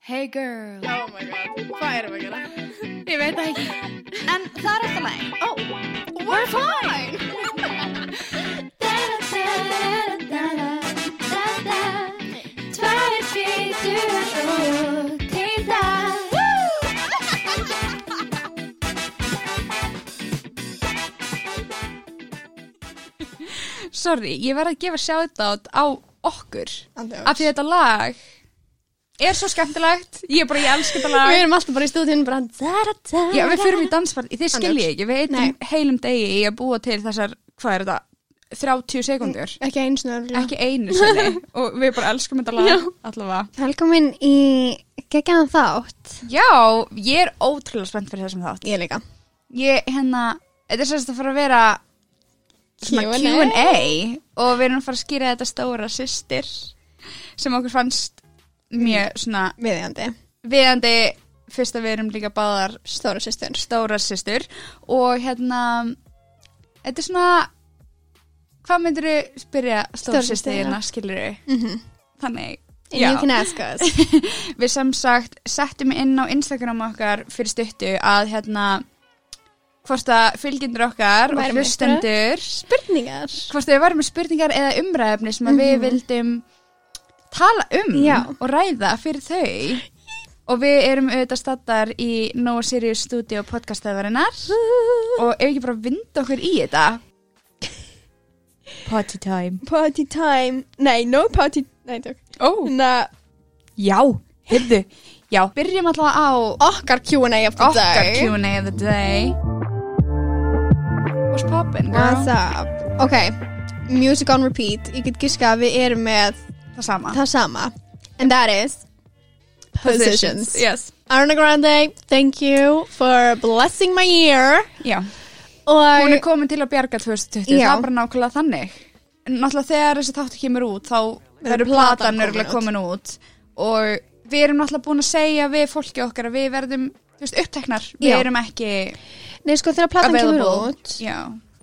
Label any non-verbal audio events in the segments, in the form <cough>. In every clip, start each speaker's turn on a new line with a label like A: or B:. A: Hey girl
B: Oh my god, hvað erum við að gera?
A: Ég veit það ekki
C: En það er alltaf læg
B: Oh, we're fine!
D: Tvær fýtur og kvítar
A: Sorry, ég verð að gefa shoutout á okkur
B: Andi
A: Af því þetta lag er svo skemmtilegt Ég er bara, ég elska þetta lag
B: Við erum alltaf bara í stúdíun bara
A: Já, við fyrum í dansfart, þið skilji
B: Andjóks.
A: ekki Við
B: Nei.
A: eitum heilum degi í að búa til þessar Hvað er þetta? 30 sekundur
B: Ekki eins og öll
A: Ekki einu
B: <laughs>
A: sinni Og við bara elskum þetta lag allavega
B: Velkomin í geggjaðan þátt
A: Já, ég er ótrúlega spennt fyrir þessum þátt
B: Ég líka
A: Ég, hérna, þetta er sérst að fara að vera svona
B: Q&A.
A: Q&A og við erum að fara að skýra þetta stóra systir sem okkur fannst mjög svona
B: Viðjandi
A: viðandi fyrst að við erum líka báðar
B: Stóra sýstur
A: stóra systur og hérna þetta er svona hvað myndir þú spyrja stóra
B: Stóru
A: systirina,
B: systurina.
A: skilur þau? Þannig,
B: And you can ask us
A: við sem sagt settum inn á Instagram okkar fyrir stuttu að hérna hvort að fylgjendur okkar og
B: Væru með
A: hlustendur
B: Spurningar
A: hvort þau varum með spurningar eða umræðefni sem að við vildum tala um
B: Já.
A: og ræða fyrir þau og við erum auðvitað stattar í Nóa Sirius Studio podcastöðvarinnar og ef ekki bara vinda okkur í þetta Potty time
B: Party time Nei, no party Nei, tjók
A: Ó,
B: Na,
A: já, heyrðu Já, byrjum alltaf á
B: Okkar Q&A of the
A: okkar
B: day
A: Q&A of the day What's poppin' girl?
B: What's up Ok, music on repeat Ég get giska að við erum með
A: Það sama
B: það sama And that is Positions
A: yes.
B: Arna Grande, thank you for blessing my year
A: Já,
B: Og
A: hún er komin til að bjarga 2020
B: Já.
A: Það er bara nákvæmlega þannig En Náttúrulega þegar þessi þáttu kemur út Þá verður platan
B: platan
A: nörgulega
B: komin
A: komin út Og við erum náttúrulega búin að segja Við fólki okkar að við verðum þú veist, uppteknar, við
B: Já.
A: erum ekki
B: Nei, sko, þegar platan kemur
A: available
B: út
A: Já,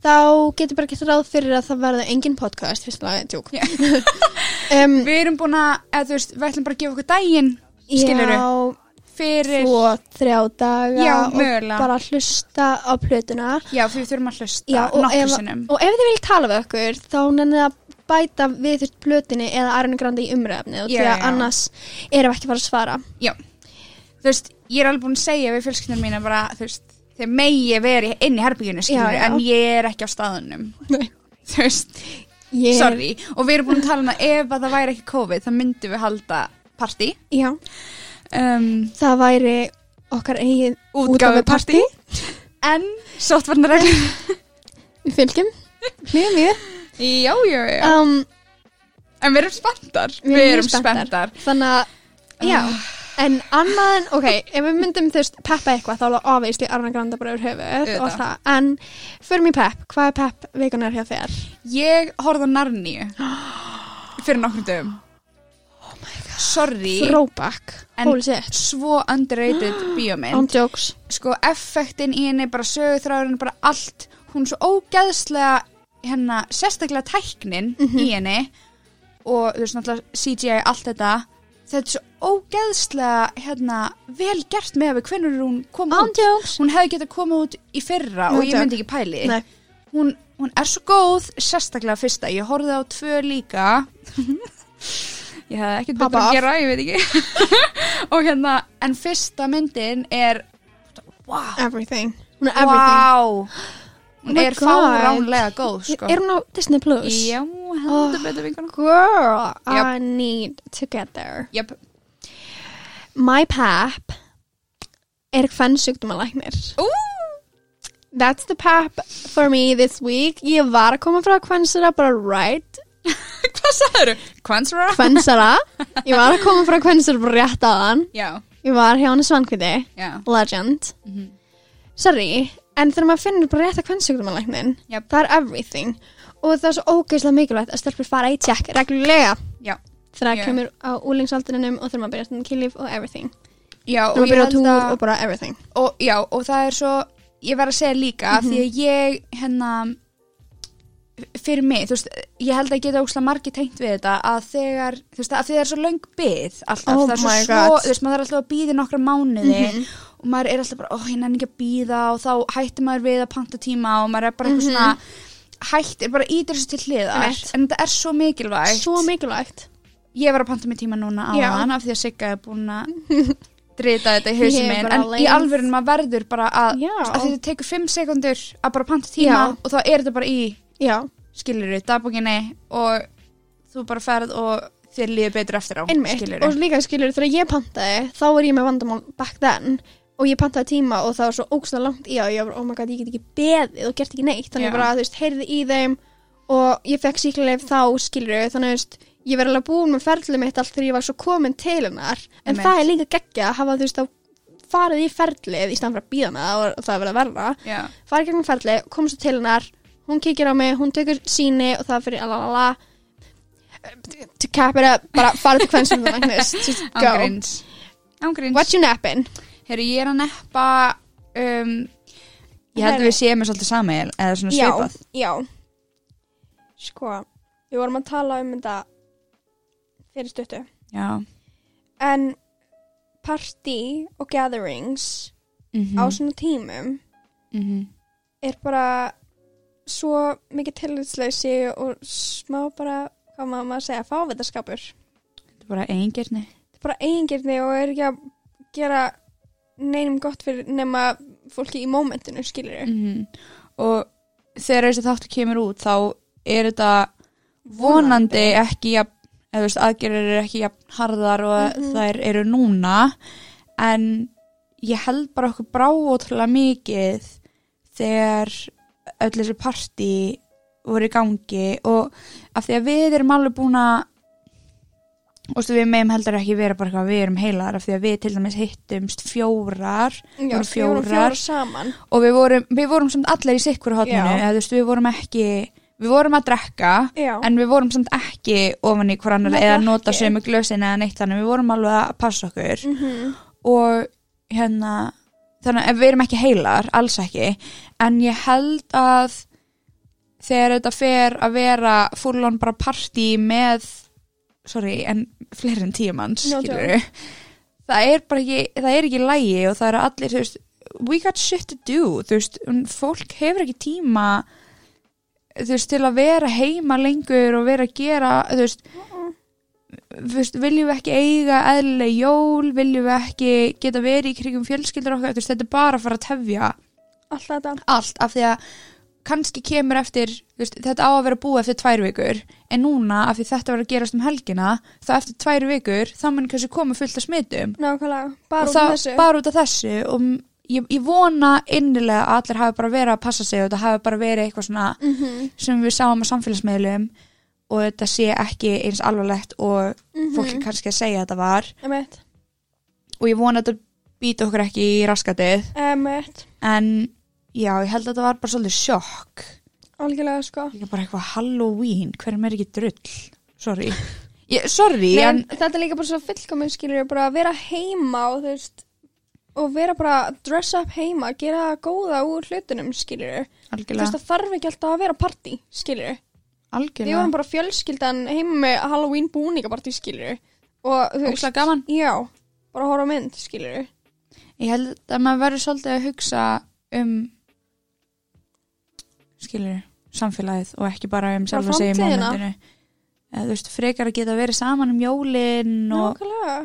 B: Þá getur bara gett ráð fyrir að það verða engin podcast Fyrst lagi, tjók <laughs>
A: Já.
B: um,
A: við erum búin að eða, þú veist, Við ætlum bara að gefa okkur daginn Skilurðu? Fyrir,
B: Tvo, þrjá daga
A: Já,
B: Og
A: mögulega.
B: bara hlusta á plötuna
A: já, því við þurfum að hlusta
B: Já, og
A: nokkru
B: ef,
A: sinnum
B: og ef þið viljið tala við okkur þá nennið þið að bæta við þurft plötinni eða Arjuna Grandi í umræðafni og
A: Já,
B: því
A: já.
B: að annars erum við ekki bara að svara
A: Já, þú veist, ég er alveg búin að segja við fjölskyldunum mína bara, þú veist, þeir megi veri inn í herbyggjunni, skilur,
B: Já, já.
A: en ég er ekki á staðunum.
B: Nei.
A: Þú veist,
B: ég,
A: sorry. Og við erum búin að tala um að ef að það væri ekki COVID, þá myndum við halda partí.
B: Já,
A: Um,
B: það væri okkar eigið
A: útgáfi partí. En, sóttvarnareglum.
B: <laughs> Við
A: <laughs>
B: fylgjum Mjög mjög
A: já, já, já.
B: um,
A: En við erum spenntar.
B: Við erum spenntar. Þannig að Já,
A: Ah.
B: en annað en, ok, ef við myndum þú veist peppa eitthvað þá alveg ofeist í Arna Granda bara yfir höfuð og
A: Auðvitað.
B: það, en fyrir mér pepp, hvað er pepp vikunar hjá þér?
A: Ég horfði á
B: <gasps>
A: Narníu fyrir nokkrum dögum. Oh my god. Sorry,
B: Throwback,
A: En-
B: holy shit,
A: svo underrated bíómynd.
B: on jokes
A: sko effektin í henni bara sögutráðurinn, bara allt hún er svo ógeðslega hérna, sérstaklega tæknin í henni og þú veist náttúrulega CGI allt þetta þetta er svo ógeðslega hérna, vel gert með að við hvernig hún kom út
B: jokes
A: hún hefði getað komið út í fyrra
B: No
A: og ég
B: joke.
A: myndi ekki pæli
B: Nei.
A: hún, hún er svo góð sérstaklega fyrsta, ég horfði á tvö
B: <laughs>
A: líka ég hefði ekkert betur
B: Papa
A: að
B: off.
A: gera, ég veit ekki <laughs> og hérna, en fyrsta myndin er wow
B: Everything Hún er everything
A: Vá, hún
B: Oh my
A: er
B: God.
A: fáránlega góð sko.
B: Er Oh. hún á Disney Plus?
A: Já, heldur betur vinkona
B: Girl, I
A: Yep.
B: need to get there
A: Jöp,
B: My pap er kvennsjúkdómalæknir
A: ú,
B: That's the pap for me this week Ég var að koma frá kvennsara bara right
A: hvað sagður? Kvansra?
B: Kvennsara Ég var að koma frá kvennsara bara rétt aðan
A: Já,
B: Ég var hjá hann svankviti
A: já,
B: Legend
A: Mhm.
B: Sorry, en þegar maður finnur bara rétt að kvennsjúkdómalæknin
A: Yep.
B: Það er everything Og það er svo ógeðslega mikilvægt að stelpur fara í tjekk reglulega
A: já
B: þegar það
A: Já.
B: kemur á úlingsaldurinnum og þegar maður byrjar að kynlíf og everything
A: Já,
B: þegar
A: og,
B: maður
A: ég
B: byrjar að
A: held
B: túr
A: að,
B: og bara everything
A: og,
E: Mhm.
A: já, og það er svo Ég verð að segja líka Því að ég, hérna fyrir mig, þú veist, ég held að ég geta ógslag margi tengt við þetta að þegar þú veist, að því það er svo löng bið alltaf,
E: Oh
A: það er svo
E: my
A: svo,
E: God. Mhm.
A: þú veist, maður er alltaf að bíða í nokkra mánuði og maður er alltaf bara, ó, ég nenni ekki að bíða og þá hættir maður við að panta tíma og maður er bara
E: Mhm.
A: eitthvað svona hættir, bara ítir þessu til hliðar
B: Einmitt.
A: en þetta er svo mikilvægt
B: Svo mikilvægt.
A: ég var að panta mér tíma núna
B: Já.
A: áðan af því að Sigga er búin að <laughs> drita þetta í hausinn
B: Ég er
A: minn
B: bara
A: en í
B: leið.
A: alvörun maður verður bara að,
B: Já.
A: að því þetta tekur 5 sekundur að bara panta tíma
B: Já.
A: og þá er þetta bara í
B: Já.
A: skilur við dagbókinni og þú bara ferð og þér líður betur eftir á
B: Einmitt.
A: skilurðu.
B: Og líka skilur þegar ég pantaði, þá var ég með vandamál back then og ég pantaði tíma og það var svo ógstlega langt í að ég var, oh my god, ég get ekki beðið og gert ekki neitt.
A: Já.
B: Þannig ég bara, þú veist, heyrði í þeim og ég fekk síklarleif þá skilur þannig þú veist, ég var alveg búin með ferlið mitt allt þegar ég var svo komin til hennar en
A: Einmitt.
B: það er líka geggja að hafa þú veist þá farið í ferlið í stand fyrir að býða með það og það verða verra
A: Já.
B: farið gegnum ferli, komst til hennar hún kikir á mig, hún tekur síni og það fyrir alalala to cap it up, bara farið til hvern sem þú magnist, just go
A: ángríns ángríns
B: what's your napping?
A: herru ég er að neppa um, ég held
B: Herru.
A: að við séum þess alltaf sami eða svona svipað
B: já sko, við vorum að tala um þetta fyrir stuttu
A: já.
B: en party og gatherings
A: Mm
B: á svona tímum
A: Mhm.
B: er bara svo mikið tillitsleysi og smá bara, hvað maður maður að segja, fávitaskapur. Þetta
A: þetta er bara eigingirni
B: er bara eigingirni og er ekki að gera neinum gott fyrir nema fólki í mómentinu, skilur
A: mm og þegar þessi þáttu kemur út þá er þetta vonandi ekki jafn, eða þú veist, aðgerður eru ekki jafn harðar og
B: Mhm.
A: þær eru núna en ég held bara okkur brá ótrúlega mikið þegar öll þessi partí voru í gangi og af því að við erum alveg búin að og stu, við meðum heldur ekki vera bara hvað við erum heilar af því að við til dæmis hittumst fjórar
B: Já,
A: voru
B: við vorum
A: fjórar.
B: fjórar saman.
A: og við vorum, við vorum samt allir í sikkur hotninu,
B: Já.
A: eða þú veist, við vorum ekki við vorum að drekka
B: Já,
A: en við vorum samt ekki ofan í hver annar
B: Nei,
A: eða
B: ekki.
A: nota sömu glösin eða neitt þannig, við vorum alveg að passa okkur
B: mm
A: og hérna þannig að við erum ekki heilar, alls ekki en ég held að þegar þetta fer að vera full on bara party með sorry, en fleiri en tíu manns
B: No
A: skilurðu. það er bara ekki það er ekki lægi og það eru allir þú veist, we got shit to do þú veist, um, fólk hefur ekki tíma þú veist, til að vera heima lengur og vera að gera þú veist, þú veist viljum við ekki eiga eðlileg jól viljum við ekki geta verið í krigum fjölskyldur okkar, þú veist, þetta er bara að fara að tefja
B: alltaf þetta.
A: allt af því að kannski kemur eftir, þú veist, þetta á að vera búið eftir tvær vikur, en núna af því þetta var að gerast um helgina, þá eftir tvær vikur, þá mun kannski koma fullt af smitum
B: Nákvæmlega, bara
A: og
B: út af þessu.
A: bara út af þessu og m- ég, ég vona innilega að allir hafi bara verið að passa sig og þetta hafi bara verið eitthvað svona
B: Mm
A: sem við sáum á samfélagsmiðlum og þetta sé ekki eins alvarlegt og
B: Mhm.
A: fólk er kannski að segja að þetta var og ég vona að þetta býta okkur ekki í raskatið
B: Emmett,
A: en já, ég held að þetta var bara svolítið sjokk
B: algjörlega sko.
A: Líka bara eitthvað Halloween, hverjum er ekki drull?
B: <laughs>
A: Sorry. Ég, sorry,
B: Nei, en,
A: en
B: þetta er líka bara svo fullkominn skilur ég bara að vera heima og þú veist og vera bara að dress up heima gera það góða úr hlutunum skilur ég þú veist
A: algjörlega,
B: það þarf ekki alltaf að vera party skilur ég við
A: algjörlega,
B: vorum bara fjölskyldan heima með Halloween búningapartý skilur ég og þú veist
A: ógslag gaman.
B: já bara að horfa á mynd skilur ég
A: Ég held að maður verður svolítið að hugsa um, skilur, samfélagið og ekki bara um
B: Bara
A: sjálf að segja í
B: framtíðina.
A: momentinu. Eða, þú veist, frekar að geta verið saman um jólin og
B: nákvæmlega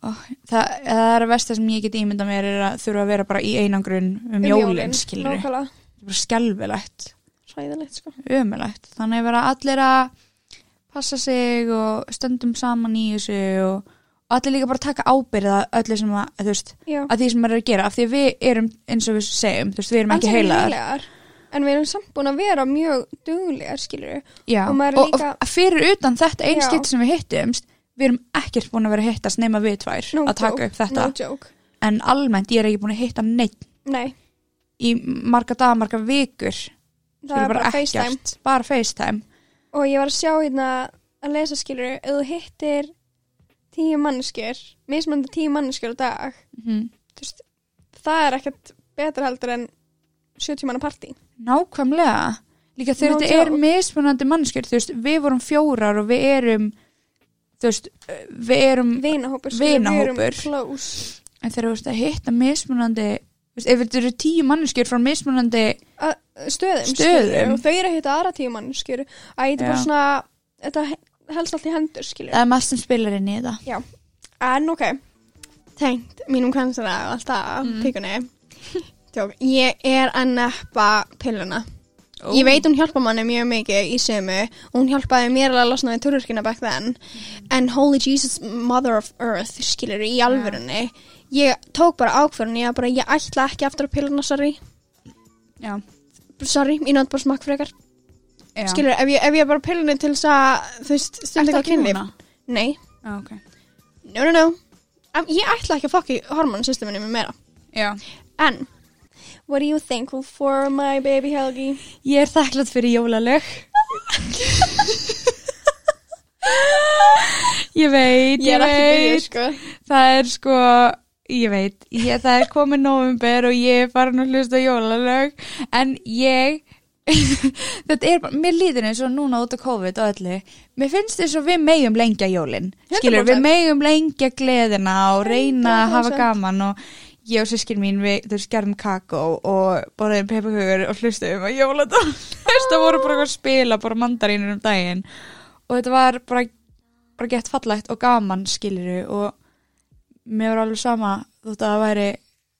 A: það, það er að versta sem ég get ímynda mér er að þurfa að vera bara í einangrun um,
B: Um
A: jólin, jólin skilur. Það
B: nákvæmlega
A: er bara skelvilegt.
B: sæðilegt sko
A: ömulegt þannig að vera allir að passa sig og stöndum saman í þessu og og allir líka bara taka ábyrða öllu sem að, þú veist,
B: já
A: að því sem maður er að gera af því að við erum, eins og við segjum, þú veist, við erum
B: Alls
A: ekki heilaðar
B: en við erum samt búin að vera mjög duglegar skilur ég
A: Já,
B: Og maður er
A: og,
B: líka-
A: og fyrir utan þetta
B: Já.
A: einskitt sem við hittumst við erum ekkert búin að vera að hittast nema við tvær að taka upp þetta,
B: no joke
A: en almennt ég er ekki búin að hitta neitt
B: nei
A: í marga daga, marga vikur
B: það er bara
A: ekkert,
B: FaceTime
A: bara FaceTime
B: og ég var að sjá hérna að lesa skilur ef þú hittir tíu manneskjur mismöndi tíu manneskjur á dag
A: mm.
B: þú veist, það er ekkert betra heldur en 70 manna partí
A: Nákvæmlega líka þegar
B: No
A: þetta er
B: joke.
A: mismunandi mannskjör þú veist, við vorum fjórar og við erum þú veist, eh, við erum
B: Vinahópur. sko, Við
A: Vinahópur.
B: erum close.
A: en þegar þú veist að hitta mismunandi þú veist, ef þetta eru tíu mannskjör frá mismunandi
B: Að- Stöðum.
A: Stöðum.
B: skilurðu, Og þau eru að hitta aðra tíu mann, skilur. Æ, þetta er bara
A: Já.
B: svona, þetta he- helst allt í hendur, skilur.
A: það er maður sem spilar inn í þetta
B: En ok, tengt mínum kansara og allt það,
A: Mhm.
B: mm. <laughs> píkunni. Tjók, ég er að neppa pilluna. Ég veit hún hjálpa manni mjög mikið í sömu og hún hjálpaði mér alveg að losna við tururkina back then. En holy Jesus, mother of earth, skilur í alvörunni. Ég tók bara ákvörðun, ég, var bara, ég ætla ekki aftur að pilluna, sorry.
A: já,
B: Sorry, ég nátt bara smakk frekar.
A: já.
B: Skilur, ef ég, ef ég bara pillunni til þess að, þú veist,
A: Ertu
B: stundið
A: ekki
B: kynlíf.
A: núna?
B: Nei,
A: Já, ok.
B: no, no, no. Em, Ég ætla ekki að fokki hormonsysteminu mér meira.
A: já.
B: En, what are you thankful for, my baby Helgi?
A: Ég er þakklátt fyrir jólalög. <laughs> ég veit, ég, veit.
B: sko.
A: það er sko, ég veit, ég, það er komið november og ég er farin að hlusta á jólalög. En ég, <laughs> þetta er bara, mér líður eins og núna út af COVID og öllu. Mér finnst eins og við megum lengja jólin. Skilur, við
B: 100%.
A: megum lengja gleðina og reyna að hafa
B: 100%.
A: gaman og ég og sískin mín við þau skerðum kakó og borðum pepahögur og hlustuðum á jóladal <laughs> þetta voru bara eitthvað að spila bara mandarínur um daginn og þetta var bara, bara gett fallegt og gaman skiluru og mér var alveg sama þótt að það væri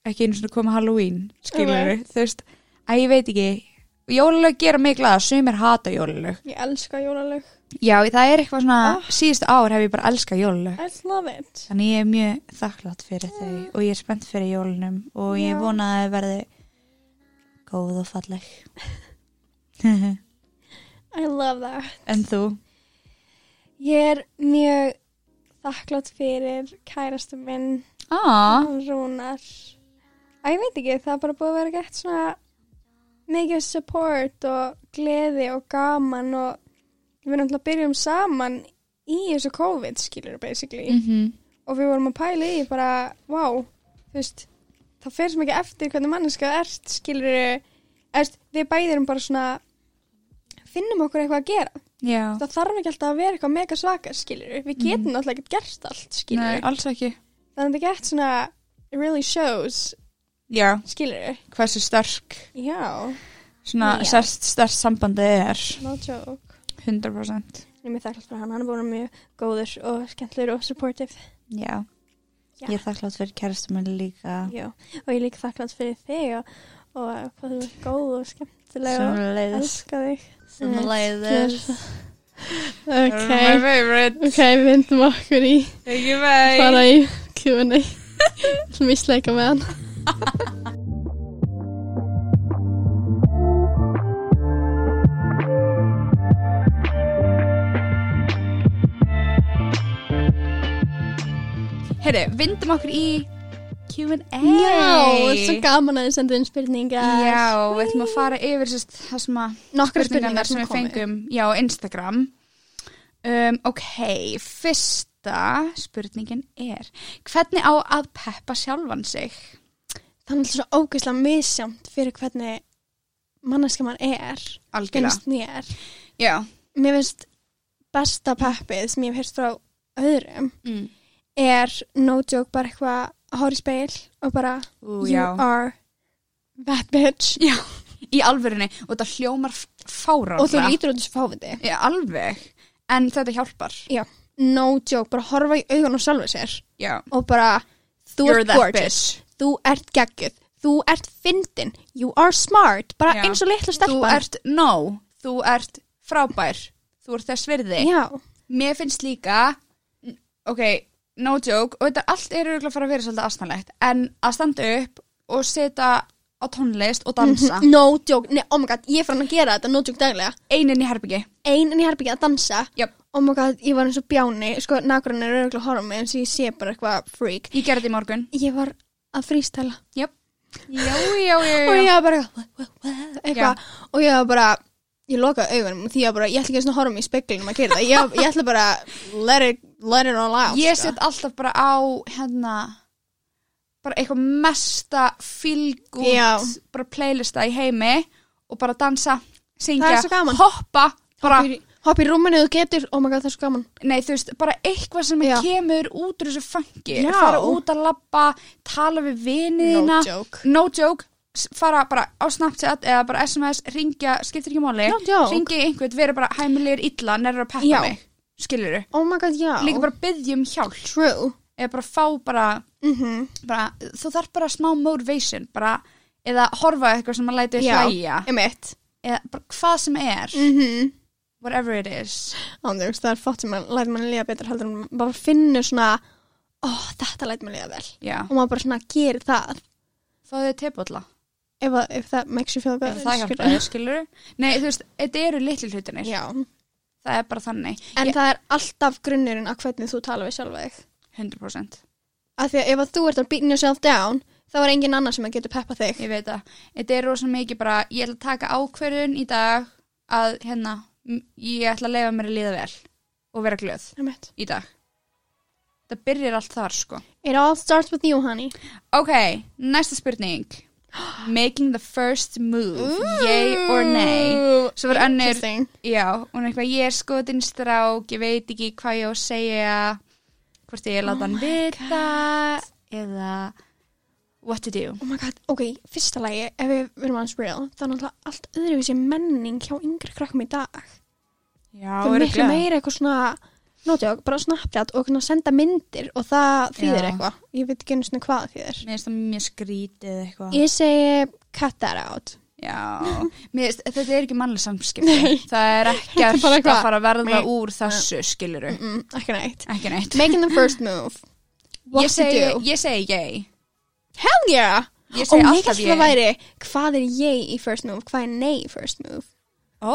A: ekki einu svona koma Halloween skiluru,
B: Alveg.
A: þú veist að ég veit ekki, jólalög gera mig glada sumir hata jólalög
B: Ég elska jólalög.
A: já, það er eitthvað svona,
B: Ah.
A: síðust ár hef ég bara elskað jólalög
B: I love it.
A: Þannig ég er mjög þakklátt fyrir þau og ég er spennt fyrir jólunum og ég
B: Ah. Já.
A: vona að þau verði góð og falleg.
B: I love that.
A: en þú?
B: Ég er mjög þakklátt fyrir kærastu minn,
A: Á,
B: hann Rúnar. Æ, ég veit ekki, það er bara búið að vera gett svona mikið support og gleði og gaman og við erum alltaf að byrja um saman í þessu COVID, skilur, basically.
A: mhm,
B: og við vorum að pæla í bara, wow, þú veist, það fer sem ekki eftir hvernig manneska það ert, skilur, veist, við bæðir erum bara svona, finnum okkur eitthvað að gera.
A: já,
B: Það þarf ekki alltaf að vera eitthvað mega svakar, skilur, við getum
A: Mhm.
B: náttúrulega ekki gert allt, skilur.
A: nei, alls ekki.
B: Þannig að þetta gett svona, it really shows,
A: Já,
B: skilur,
A: hversu sterk,
B: já,
A: svona
B: Já.
A: sérst sterk sambandið er,
B: no joke.
A: 100%.
B: Ég er mjög þakklátt fyrir hann, hann er búin að vera mjög góður og skemmtilegur og supportive.
A: Já,
B: Já.
A: ég er þakklátt fyrir kærastu minni líka.
B: Já, og ég er líka þakklátt fyrir þig og, og hvað þú er góð og skemmtileg og
A: Sem leiðis.
B: elska þig.
A: Sem
B: Yes,
A: leiðis.
F: Ok,
A: My favorite.
F: ok, vindum okkur í
A: Ekki vei.
F: fara í Q&A sem ég sleika með hann
A: Herru, vindum okkur í Q&A.
F: Já, svo gaman að þið sendu inn spurningar
A: Já, við ætlum að fara yfir sérst, það sem að
B: Nokkra
A: spurningarnar sem við fengum já, á Instagram um, ok, fyrsta spurningin er hvernig á að peppa sjálfan sig?
B: Það er alltaf svo ógeðslega misjamt fyrir hvernig manneska mann er,
A: Algjörlega,
B: finnst mér.
A: já
B: Mér finnst besta peppið sem ég hef hérst frá öðrum
A: mm.
B: er no joke bara eitthvað að horfa í speil og bara
A: Ú,
B: you
A: já.
B: are that bitch
A: já, í alvörunni og þetta hljómar fára
B: og þú lítur út þessu fáviti.
A: já, alveg, en þetta hjálpar
B: No joke, bara horfa í augun og sjálfa sér
A: já,
B: og bara þú
A: you're
B: ert
A: that
B: gorgeous,
A: bitch
B: þú ert geggjöð, þú ert fyndin, you are smart, bara
A: Já.
B: eins og litla
A: þú
B: stelpan.
A: ert no, þú ert frábær þú ert þess virði
B: Já.
A: Mér finnst líka ok, no joke og þetta allt er auðvitað að fara að vera svolítið astanlegt en að standa upp og setja á tónlist og dansa
B: <laughs>
A: <laughs>
B: No joke, nei, oh my god, ég er farin að gera þetta no joke daglega,
A: eininn í herbyggi
B: ein en ég herbyggja að dansa
A: Jöp.
B: oh my god, ég var eins og bjáni sko, nákvæmlega er auðvitað að horfa á mig eins og ég sé bara eitthvað freak,
A: Ég gerði þetta í morgun
B: ég var að frístæla
A: Jöp. Já, já, já,
B: og
A: já.
B: ég var bara eitthvað, "Wah, wah, wah,"
A: Já.
B: eitthvað og ég var bara, ég lokaði augunum því ég var bara, ég ætla ekki einu sinni að horfa á mig í speglunum að gera það ég, ég ætla bara, let it, let it all out
A: Ég
B: sko.
A: set alltaf bara á hérna bara eitthvað mesta feel
B: Já.
A: good bara playlista í heimi og bara dansa syngja,
D: Það er svo gaman.
A: hoppa bara,
D: Hopp í- Hopp í rúminu þú getur, oh my god það er svo gaman
A: nei þú veist, bara eitthvað sem
D: Já.
A: kemur út úr þessu fangi
D: Já.
A: fara út að labba, tala við viniðina,
D: joke
A: no joke s- fara bara á Snapchat eða bara SMS, ringja, skiptir ekki máli
D: No joke.
A: ringi í einhvern, vera bara hæmilir illa nærður að peppa
D: Já.
A: mig, skilur
D: Oh my god, já
A: líka bara byggjum hjálp
D: True
A: eða bara fá bara,
D: mm
A: bara þú þarf bara smá motivation bara, eða horfa á eitthvað sem að læti
D: Já.
A: hlæja
D: Emitt
A: eða bara hvað sem er,
D: mm -hmm.
A: whatever it is
D: Ándjóks, það er fótt sem að læta manni líða betur heldur en maður bara finnur svona ó, þetta læta manni líða vel
A: já,
D: og maður bara svona gerir það
A: þá þau tepotla
D: ef, að- if that makes you feel good
A: ef það hjálpa þau, skilur nei, þú veist, þetta eru litlu hlutinir
D: Já,
A: það er bara þannig,
D: en það er alltaf grunnurinn að hvernig þú tala við sjálfa þig
A: 100%
D: af því að ef að þú ert að beating yourself down þá er engin annar sem að getur peppa þig
A: ég veit að, þetta er rosa mikið bara ég ætla að taka ákverðun í dag að hérna, m- ég ætla að leifa mér að líða vel og vera glöð
D: Emitt
A: í dag það byrjar allt þar, sko
D: It all starts with you, honey
A: ok, næsta spurning <gasps> making the first move yay or nay Svo var önnur-
D: Interesting.
A: Já, hún er eitthvað, ég er skotin strák, ég veit ekki hvað ég á að segja, hvort ég
D: Oh
A: láta hann vita, eða what to do.
D: Oh my god, ok, fyrsta lagi, ef við verum aðeins real, það er náttúrulega allt öðruvísi menning hjá yngri krakkum í dag.
A: Já,
D: það er miklu meira eitthvað svona, notjók, bara snappjátt og svona senda myndir og það þýðir
A: Já.
D: eitthvað. Ég veit ekki einu svona hvað það þýðir.
A: Mér finnst það mjög skrítið eitthvað.
D: Ég segi cut that out.
A: Já, mér finnst, þetta er ekki mannlega samskipti. Það
D: <laughs>
A: er ekkert
D: bara
A: að
D: eitthvað.
A: fara að verða
D: Nei.
A: úr þessu, skiluru.
D: Mm, ekki nætt.
A: Ekki neitt.
D: Making the first move. What
A: Ég segi,
D: to do?
A: ég segi yay.
D: Hell yeah!
A: Ég
D: Og
A: segi
D: mér
A: alltaf
D: kannski það
A: yay.
D: væri, hvað er yay í first move, hvað er nei í first move?
A: Ó,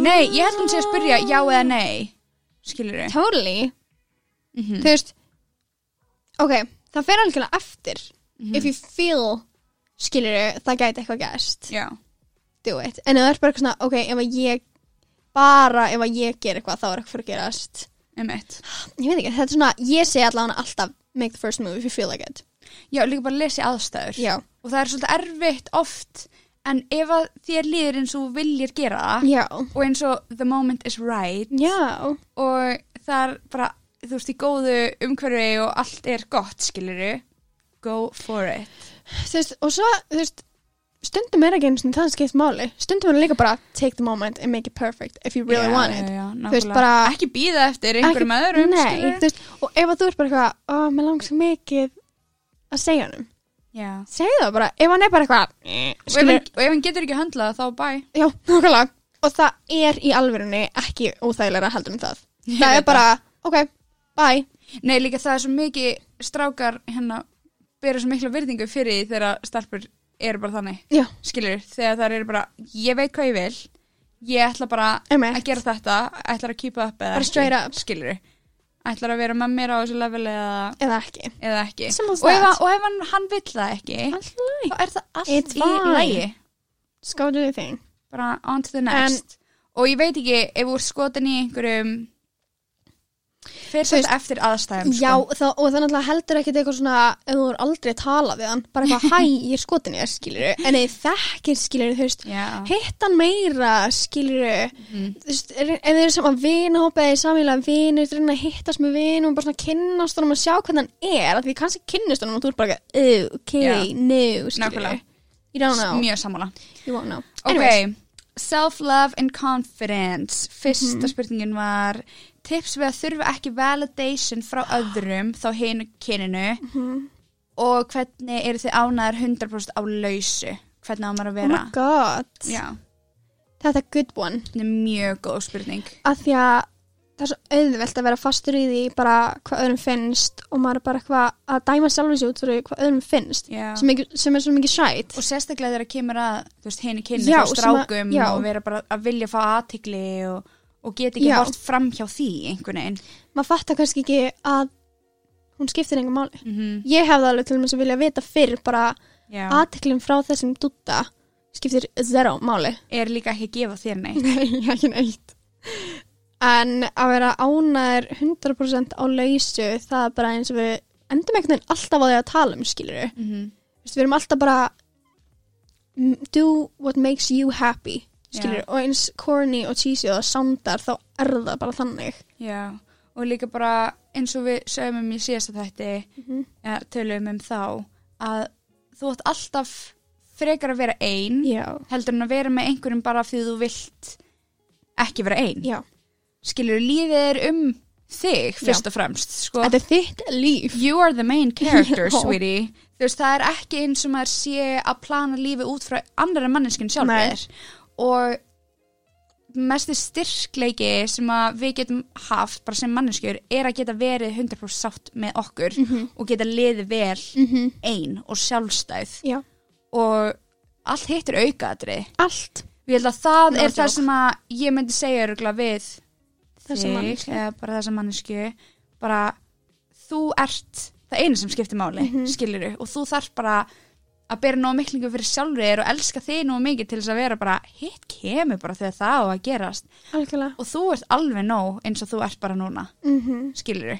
A: nei, ég held hún sé að spyrja já eða nei, skiluru.
D: Totally. Mm-hmm. þú veist ok, það fer algjörlega eftir if you feel skilur það gæti eitthvað gerst
A: Já,
D: do it, en það er bara eitthvað svona ok, ef að ég bara ef að ég ger eitthvað þá er eitthvað fyrir að gerast
A: um
D: ég veit ekki, þetta er svona, ég segi allavega alltaf make the first move if you feel like it
A: Já, líka bara lesi aðstæður.
D: já,
A: og það er svolítið erfitt oft en ef að þér líður eins og þú viljir gera það
D: já,
A: og eins og the moment is right
D: já
A: og það er bara, þú veist, í góðu umhverfi og allt er gott, skiluru go for it
D: þú veist, og svo, þú veist stundum er ekki einu svona það skipt máli stundum er líka bara take the moment and make it perfect if you really
A: Já,
D: want
A: já,
D: it
A: já,
D: Þú veist,
A: nákvæmlega.
D: bara-
A: ekki býða eftir einhverjum
D: Ekki-
A: öðrum
D: nei,
A: skilurðu.
D: þú veist, og ef að þú ert bara eitthvað, ó, mér langar svo mikið að segja honum,
A: Já.
D: segja það bara ef hann er bara eitthvað
A: og ef
D: skilur,
A: hann- og ef hann getur ekki höndlað það, þá bæ
D: já, nákvæmlega og það er í alvörunni ekki óþægilega heldur um það
A: Ég
D: það
A: veit
D: er bara, ok, bye
A: nei, líka það er svo mikið strákar hérna, bera svo mikla virðingu fyrir því þegar stelpur eru bara þannig
D: já,
A: skilur, þegar það eru bara ég veit hvað ég vil, ég ætla bara
D: Einmitt.
A: að gera þetta, ætlar að keepa upp eða
D: Bara straight up.
A: skilur, ætlar að vera með mér á þessu level eða,
D: eða ekki
A: eða ekki
D: Simple as
A: og ef,
D: that.
A: hann- og ef hann, hann vill það ekki þá er það allt
D: It's
A: í
D: fine.
A: lægi
D: Just go do the thing
A: bara on to the next og ég veit ekki ef þú er skotin í einhverjum fyrir
D: Þú veist-
A: þetta eftir aðstæðum
D: já,
A: sko.
D: það, og það náttúrulega heldur ekkit eitthvað svona ef þú er aldrei talað við hann bara <laughs> eitthvað, hæ, ég er skotin ég, skilur en ef þekkir, skilur, þú veist
A: Já.
D: hittan meira, skilur
A: Mhm.
D: þú veist, er- ef þið eru saman vinahópa eða samílega vinur, þú reyna að hittast með vinum og bara svona kynnast honum og sjá hvernig hann er af því kannski kynnast honum og þú er bara eitthvað, "Ew, ok,
A: Já.
D: no,
A: Nákvæmlega.
D: skilur you don't know,
A: mjög sammála
D: you won't know Anyways,
A: Ok, self-love and confidence Fyrsta
D: Mhm.
A: spurningin var Tips við að þurfa ekki validation frá öðrum Þá hinu kyninu
D: Mhm.
A: Og hvernig eru þið ánæðar 100% á lausu Hvernig á maður að
D: oh
A: vera
D: my god,
A: Já,
D: þetta er good one
A: þetta er mjög góð spurning
D: af því að það er svo auðvelt að vera fastur í því bara hvað öðrum finnst og maður er bara eitthvað að dæma sjálfur sér út fyrir hvað öðrum finnst
A: Já.
D: sem, ekki, sem er svo mikið sætt
A: Og sérstaklega þegar kemur að Þú veist, hinu kyninu,
D: Já,
A: þú veist,
D: sem að-
A: strákum
D: já.
A: Og vera bara að vilja fá aðtikli og, og get ekki
D: Já.
A: hort fram hjá því einhvern veginn
D: maður fattar kannski ekki að hún skiptir engum máli
A: mm
D: ég hefði alveg til þess að vilja vita fyrr bara
A: Já,
D: aðteklum frá þessum dutta skiptir zero máli
A: er líka ekki að gefa þér
D: <laughs>
A: neitt
D: Nei, ekki neitt En að vera ánæður 100% á lausu það er bara eins og við endum einhvern veginn alltaf á því að tala um skilur við
A: mm -hmm.
D: Við erum alltaf bara mm, do what makes you happy skilur, og eins corny og cheesy og það soundar þá er það bara þannig
A: Já, og líka bara eins og við sögum um í síðasta þætti
D: Mhm.
A: eða tölum um þá að þú ætti alltaf frekar að vera ein
D: já,
A: heldur en að vera með einhverjum bara af því þú vilt ekki vera ein
D: já,
A: skilur lífið er um þig fyrst og fremst sko.
D: þetta er þitt líf
A: you are the main character
D: <laughs> Já.
A: sweetie þú veist það er ekki eins og maður sé að plana lífið út frá annara manneskinn
D: Nei.
A: sjálfur og mesti styrkleiki sem að við getum haft bara sem manneskjur er að geta verið 100% sátt með okkur
D: Mhm.
A: og geta liðið vel ein og sjálfstæð
D: já,
A: og allt hitt er aukaðri
D: allt
A: Ég held að það
D: No
A: er það
D: joke.
A: sem að ég myndi segja örugla við
D: Þessa manneskju.
A: eða bara þessa mannesku bara þú ert það einu sem skiptir máli, mm og þú þarf bara að bera nóg miklingu fyrir sjálfur þér og elska þig nóg mikið til þess að vera bara, hitt kemur bara þegar það á að gerast
D: algjörlega
A: og þú ert alveg nóg eins og þú ert bara núna
D: mm
A: skilur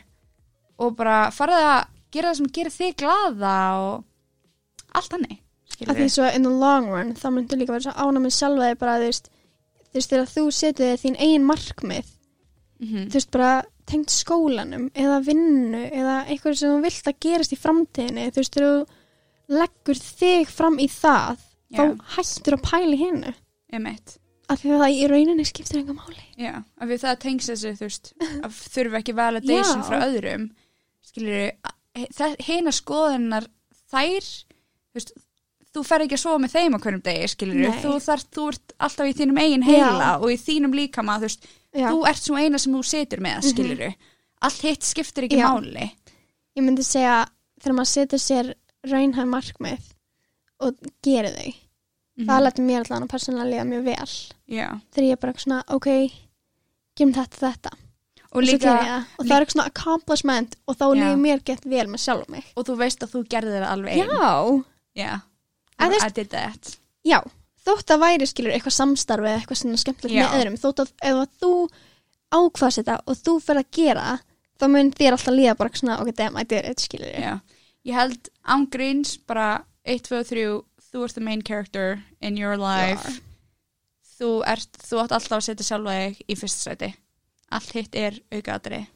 A: og bara farið að gera það sem gerir þig glaða og allt hannig
D: að því svo in the long run þá myndur líka vera svo ána með sjálfa þig bara þú veist, þú veist þegar þú setur þér þín eigin markmið
A: Mhm.
D: þú veist bara tengt skólanum eða vinnu eða eitthvað sem þú vilt að gerast í framtíðinni þú veist þegar þú leggur þig fram í það
A: Já.
D: þá hættur að pæli hennu
A: um eitt
D: af því að það í rauninni skiptir enga máli
A: Já, að við það tengst þessu, þú veist, að þurfa ekki validation
D: Já.
A: frá öðrum, skilur, hérna skoðunar þær, þú veist, þú fer ekki að sofa með þeim á hverjum degi, skilur,
D: Nei.
A: þú þarf, þú ert alltaf í þínum eigin heila
D: Já.
A: og í þínum líkama, þú veist,
D: Já. Mhm.
A: þú ert svo eina sem þú situr með, skilur, allt hitt skiptir ekki
D: Já.
A: máli.
D: ég myndi segja þegar maður setur sér raunhæð markmið og gerir þau það
A: Mhm.
D: leti mér allan að persónulega liða mjög vel
A: Já,
D: þegar ég er bara eitthvað svona ok, gerum þetta þetta
A: og
D: og,
A: líka,
D: og það er eitthvað svona accomplishment og þá
A: Já.
D: líður mér gett vel með sjálf mig
A: og þú veist að þú gerðir það alveg einn. Já.
D: En þú
A: Yeah.
D: veist-
A: I did that.
D: já, þótt að væri skilur eitthvað samstarfi eða eitthvað svona skemmtilegt
A: Já.
D: með öðrum þótt að ef að þú ákvaðs þetta og þú fer að gera það, þá mun þér alltaf líða bara eitthvað svona ok, damn, I did it, skilur
A: Já, ég held ángríns bara 1, 2, 3, þú ert the main character in your life þú ert, þú átt alltaf að setja sjálfa þig í fyrsta sæti allt hitt er aukaðri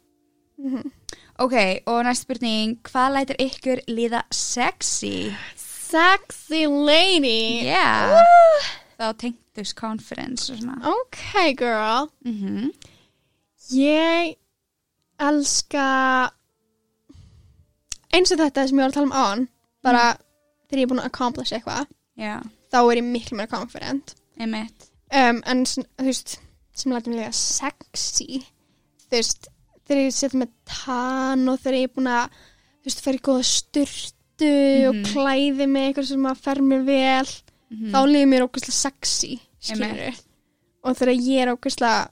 D: Mhm.
A: ok, og næst spurning hvað lætir ykkur líða sexy?
D: sexy lady
A: yeah þá tengtust confidence og svona
D: ok, girl
A: mm -hmm.
D: ég elska eins og þetta sem ég var að tala um án bara
A: Mm.
D: þegar ég er búin að accomplish eitthvað
A: já,
D: þá er ég miklu meira confident
A: emitt
D: um, en sn- þú veist sem lætum líka sexy þú veist, þegar ég setja með tan og þegar ég er búin að þú veist, fer í góða styrtu og
A: Mhm.
D: klæði mig eitthvað sem að fer mér vel þá líður mér ókvæslega sexy skilur og þegar ég er ókvæslega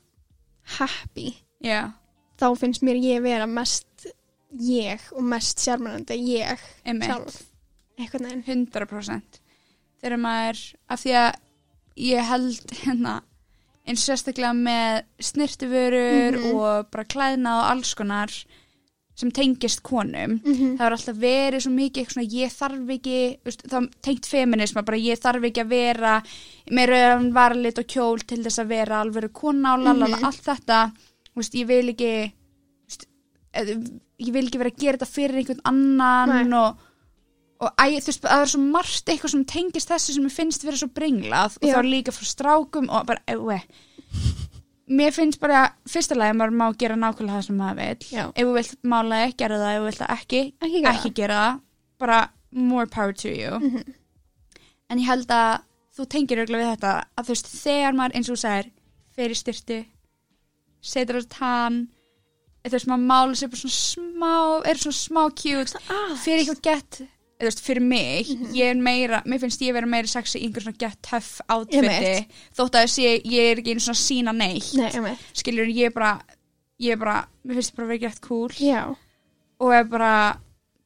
D: happy
A: já,
D: þá finnst mér ég vera mest ég og mest sjármennandi ég
A: emitt
D: sjálf eitthvað neginn
A: 100% þegar maður, af því að ég held hérna eins og sérstaklega með snirtivörur
D: Mhm.
A: og bara klæðna og alls konar sem tengist konum
D: mm -hmm.
A: það var alltaf verið svo mikið eitthvað svona ég þarf ekki, þú veist, þá tengt feminisma bara ég þarf ekki að vera með rauðan varlit og kjól til þess að vera alveg kona og lalala,
D: Mhm.
A: allt þetta þú veist, ég vil ekki þú veist, eð- ég vil ekki vera að gera þetta fyrir einhvern annan
D: Nei.
A: og, og æ, þú veist, það er svo margt eitthvað sem tengist þessu sem ég finnst vera svo brenglað og
D: Já.
A: þá líka frá strákum og bara, eða mér finnst bara, fyrsta lagi maður má gera nákvæmlega það sem maður vil
D: Já.
A: ef þú vilt mála þig, gera það, ef þú vilt það ekki
D: ekki gera
A: ekki gera það, bara more power to you
D: Mhm.
A: en ég held að þú tengir örgulega við þetta að þú veist, þegar maður eins og þú sagir fer í styrtu setur á tann eða þú veist, maður mála sér bara svona smá er svona smá cute,
D: það
A: fyrir eitthvað gett eða þú veist, fyrir mig,
D: Mhm.
A: ég er meira mér finnst ég vera meira sexy í einhver svona gett töff átfiti,
D: Einmitt.
A: þótt að þessi ég er ekki einu svona sína neitt
D: Nei, emi.
A: skilur, ég er bara ég er bara, mér finnst ég bara vera gett cool
D: Já,
A: og er bara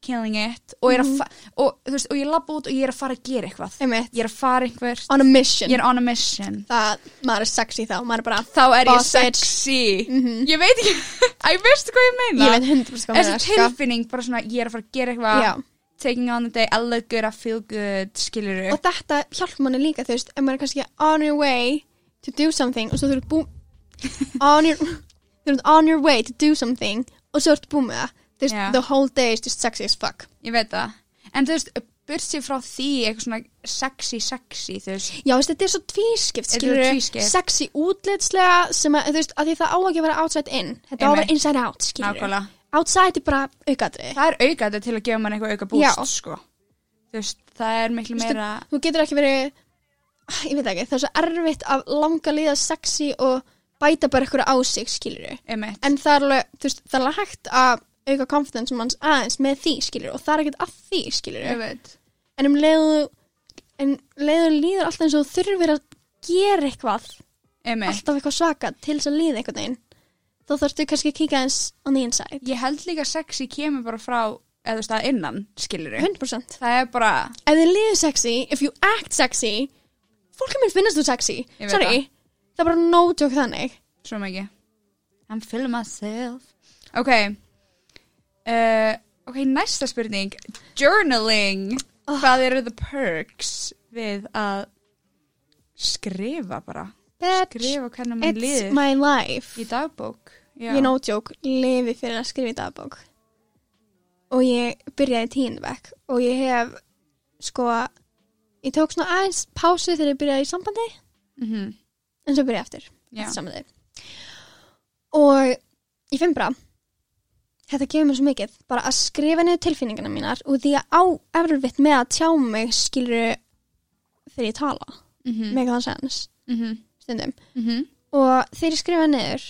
A: killing it og,
D: Mhm.
A: mm -hmm. og, þú veist, og ég labba út og ég er að fara að gera eitthvað
D: emitt.
A: ég er að fara einhvert,
D: On a mission.
A: ég er on a mission
D: Það, maður er sexy þá, maður er bara,
A: þá er ég
D: Boss bitch.
A: sexy ég veit ekki, <laughs> að ég veist hvað ég meina
D: ég veit hundra sko
A: þessi tilfinning, bara svona ég er að fara að gera eitthvað
D: Já,
A: taking on the day, I look good, I feel good skilur
D: og þetta hjálp manni líka, þú veist, ef maður er kannski on your way to do something og svo þú ert bú
A: <laughs>
D: on your, þú ert on your way to do something og svo ertu búin með það There's,
A: Já.
D: the whole day is just sexy as fuck
A: ég veit það en þú veist, bursi frá því eitthvað svona sexy, sexy þú veist,
D: Já, veist, þetta er svo tvískipt,
A: Þetta er
D: skilur
A: tvískipt.
D: Sexy útlitslega sem að, þú veist, að því það á ekki að vera outside in Þetta á að
A: Einmitt.
D: vera inside out, skilur
A: nákvæmlega
D: Outside er bara aukadri
A: það er auka þetta til að gefa mann eitthvað auka búst
D: Já.
A: sko. þú veist, það er miklu
D: Þú veist,
A: meira
D: Þú getur ekki verið, Ah, ég veit ekki, það er svo erfitt að langa líða sexy og bæta bara ykkur á sig, skilur
A: emitt,
D: En það er alveg, þú veist, það er alveg hægt að auka confidence manns aðeins með því, skilur Og það er ekkert að því, skilur
A: ég veit
D: en um leiðu en leiðu líður alltaf eins og þú þurfir að gera eitthvað,
A: emitt,
D: alltaf eitthvað svaka til þess að líða einhvern veginn þá þarftu kannski að kíka eins on the inside
A: ég held líka sexy kemur bara frá eða þú veist, að innan, skilur
D: 100%
A: það er bara,
D: ef þið líður sexy, if you act sexy fólk er minn finnast þú sexy
A: Ég veit
D: sorry, það er bara no joke þannig
A: svo mikið I'm feeling myself ok uh, ok, næsta spurning journaling hvað eru the perks við að skrifa bara
D: bitch,
A: skrifa hvernig mann
D: it's
A: liður
D: my life
A: í dagbók Já.
D: ég no joke, lifi fyrir að skrifa í dagbók og ég byrjaði í tíndabæk og ég hef sko, ég tók svona aðeins pásu þegar ég byrjaði í sambandi
A: Mhm,
D: en svo byrja ég aftur
A: já.
D: þetta saman þig og ég finn bara þetta gefur mér svo mikið bara að skrifa niður tilfinningana mínar og því að á erfitt með að tjá mig skilur þegar ég tala mm.
A: Mhm,
D: með þann sens
A: mhm,
D: stundum
A: mhm.
D: og þegar ég skrifa niður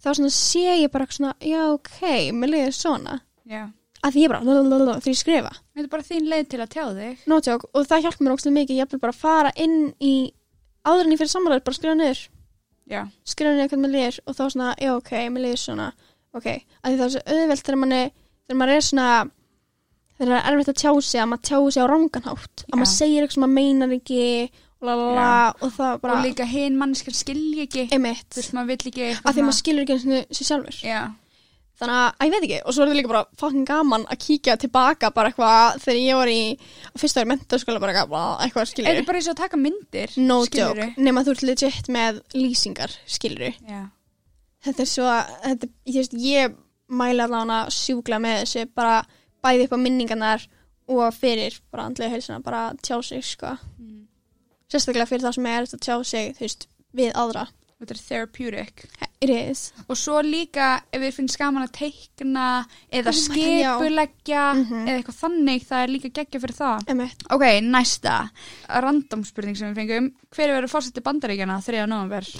D: þá svona sé ég bara svona já ok, mér liður svona
A: Já.
D: að því ég bara lalalala, þegar ég skrifa
A: þetta er bara þín leið til að tjá þig
D: notjók og það hjálp mér ógstlega mikið ég er bara að fara inn í áður en ég fyrir samanlega bara að skrifa niður
A: já,
D: skrifa niður hvernig maður líður og þá svona, já ok, mér líður svona ok, að því það er svo auðvelt þegar manni þegar maður er svona þegar það er erfitt að tjá sig, að maður tjá sig á ranganhátt að
A: Já.
D: maður segir eitthvað sem maður meinar ekki og la la la, la, og það bara
A: og líka hinn mannskar skilji ekki
D: emitt,
A: þú veist, maður vill ekki
D: að því maður skilur ekki einu sinni sig sjálfur
A: já,
D: þannig að, að ég veit ekki, og svo er það líka bara fucking gaman að kíkja tilbaka bara eitthvað þegar ég var í, fyrst ári mentaskóla bara eitthvað, bla, eitthvað
A: þetta
D: skilur
A: er bara eins og að taka myndir
D: no
A: skilurðu?
D: joke, nema þú ert legit með lýsingar, skilur
A: já,
D: þetta er svo þetta, ég, veist, ég mæla allavega sjúkla með þessu bara bæði upp á minningarnar og fyrir bara andlega heilsuna bara tjá sig sko
A: Mm.
D: sérstaklega fyrir það sem er erfitt að tjá sig þú veist, við aðra
A: þetta er therapeutic
D: it is
A: og svo líka ef við finnst gaman að teikna
D: Oh my God,
A: eða
D: já.
A: skipuleggja
D: Mhm.
A: eða eitthvað þannig, það er líka geggja fyrir það
D: emitt
A: ok, næsta random spurning sem við fengum hver verður fórseti bandaríkjana 3. november?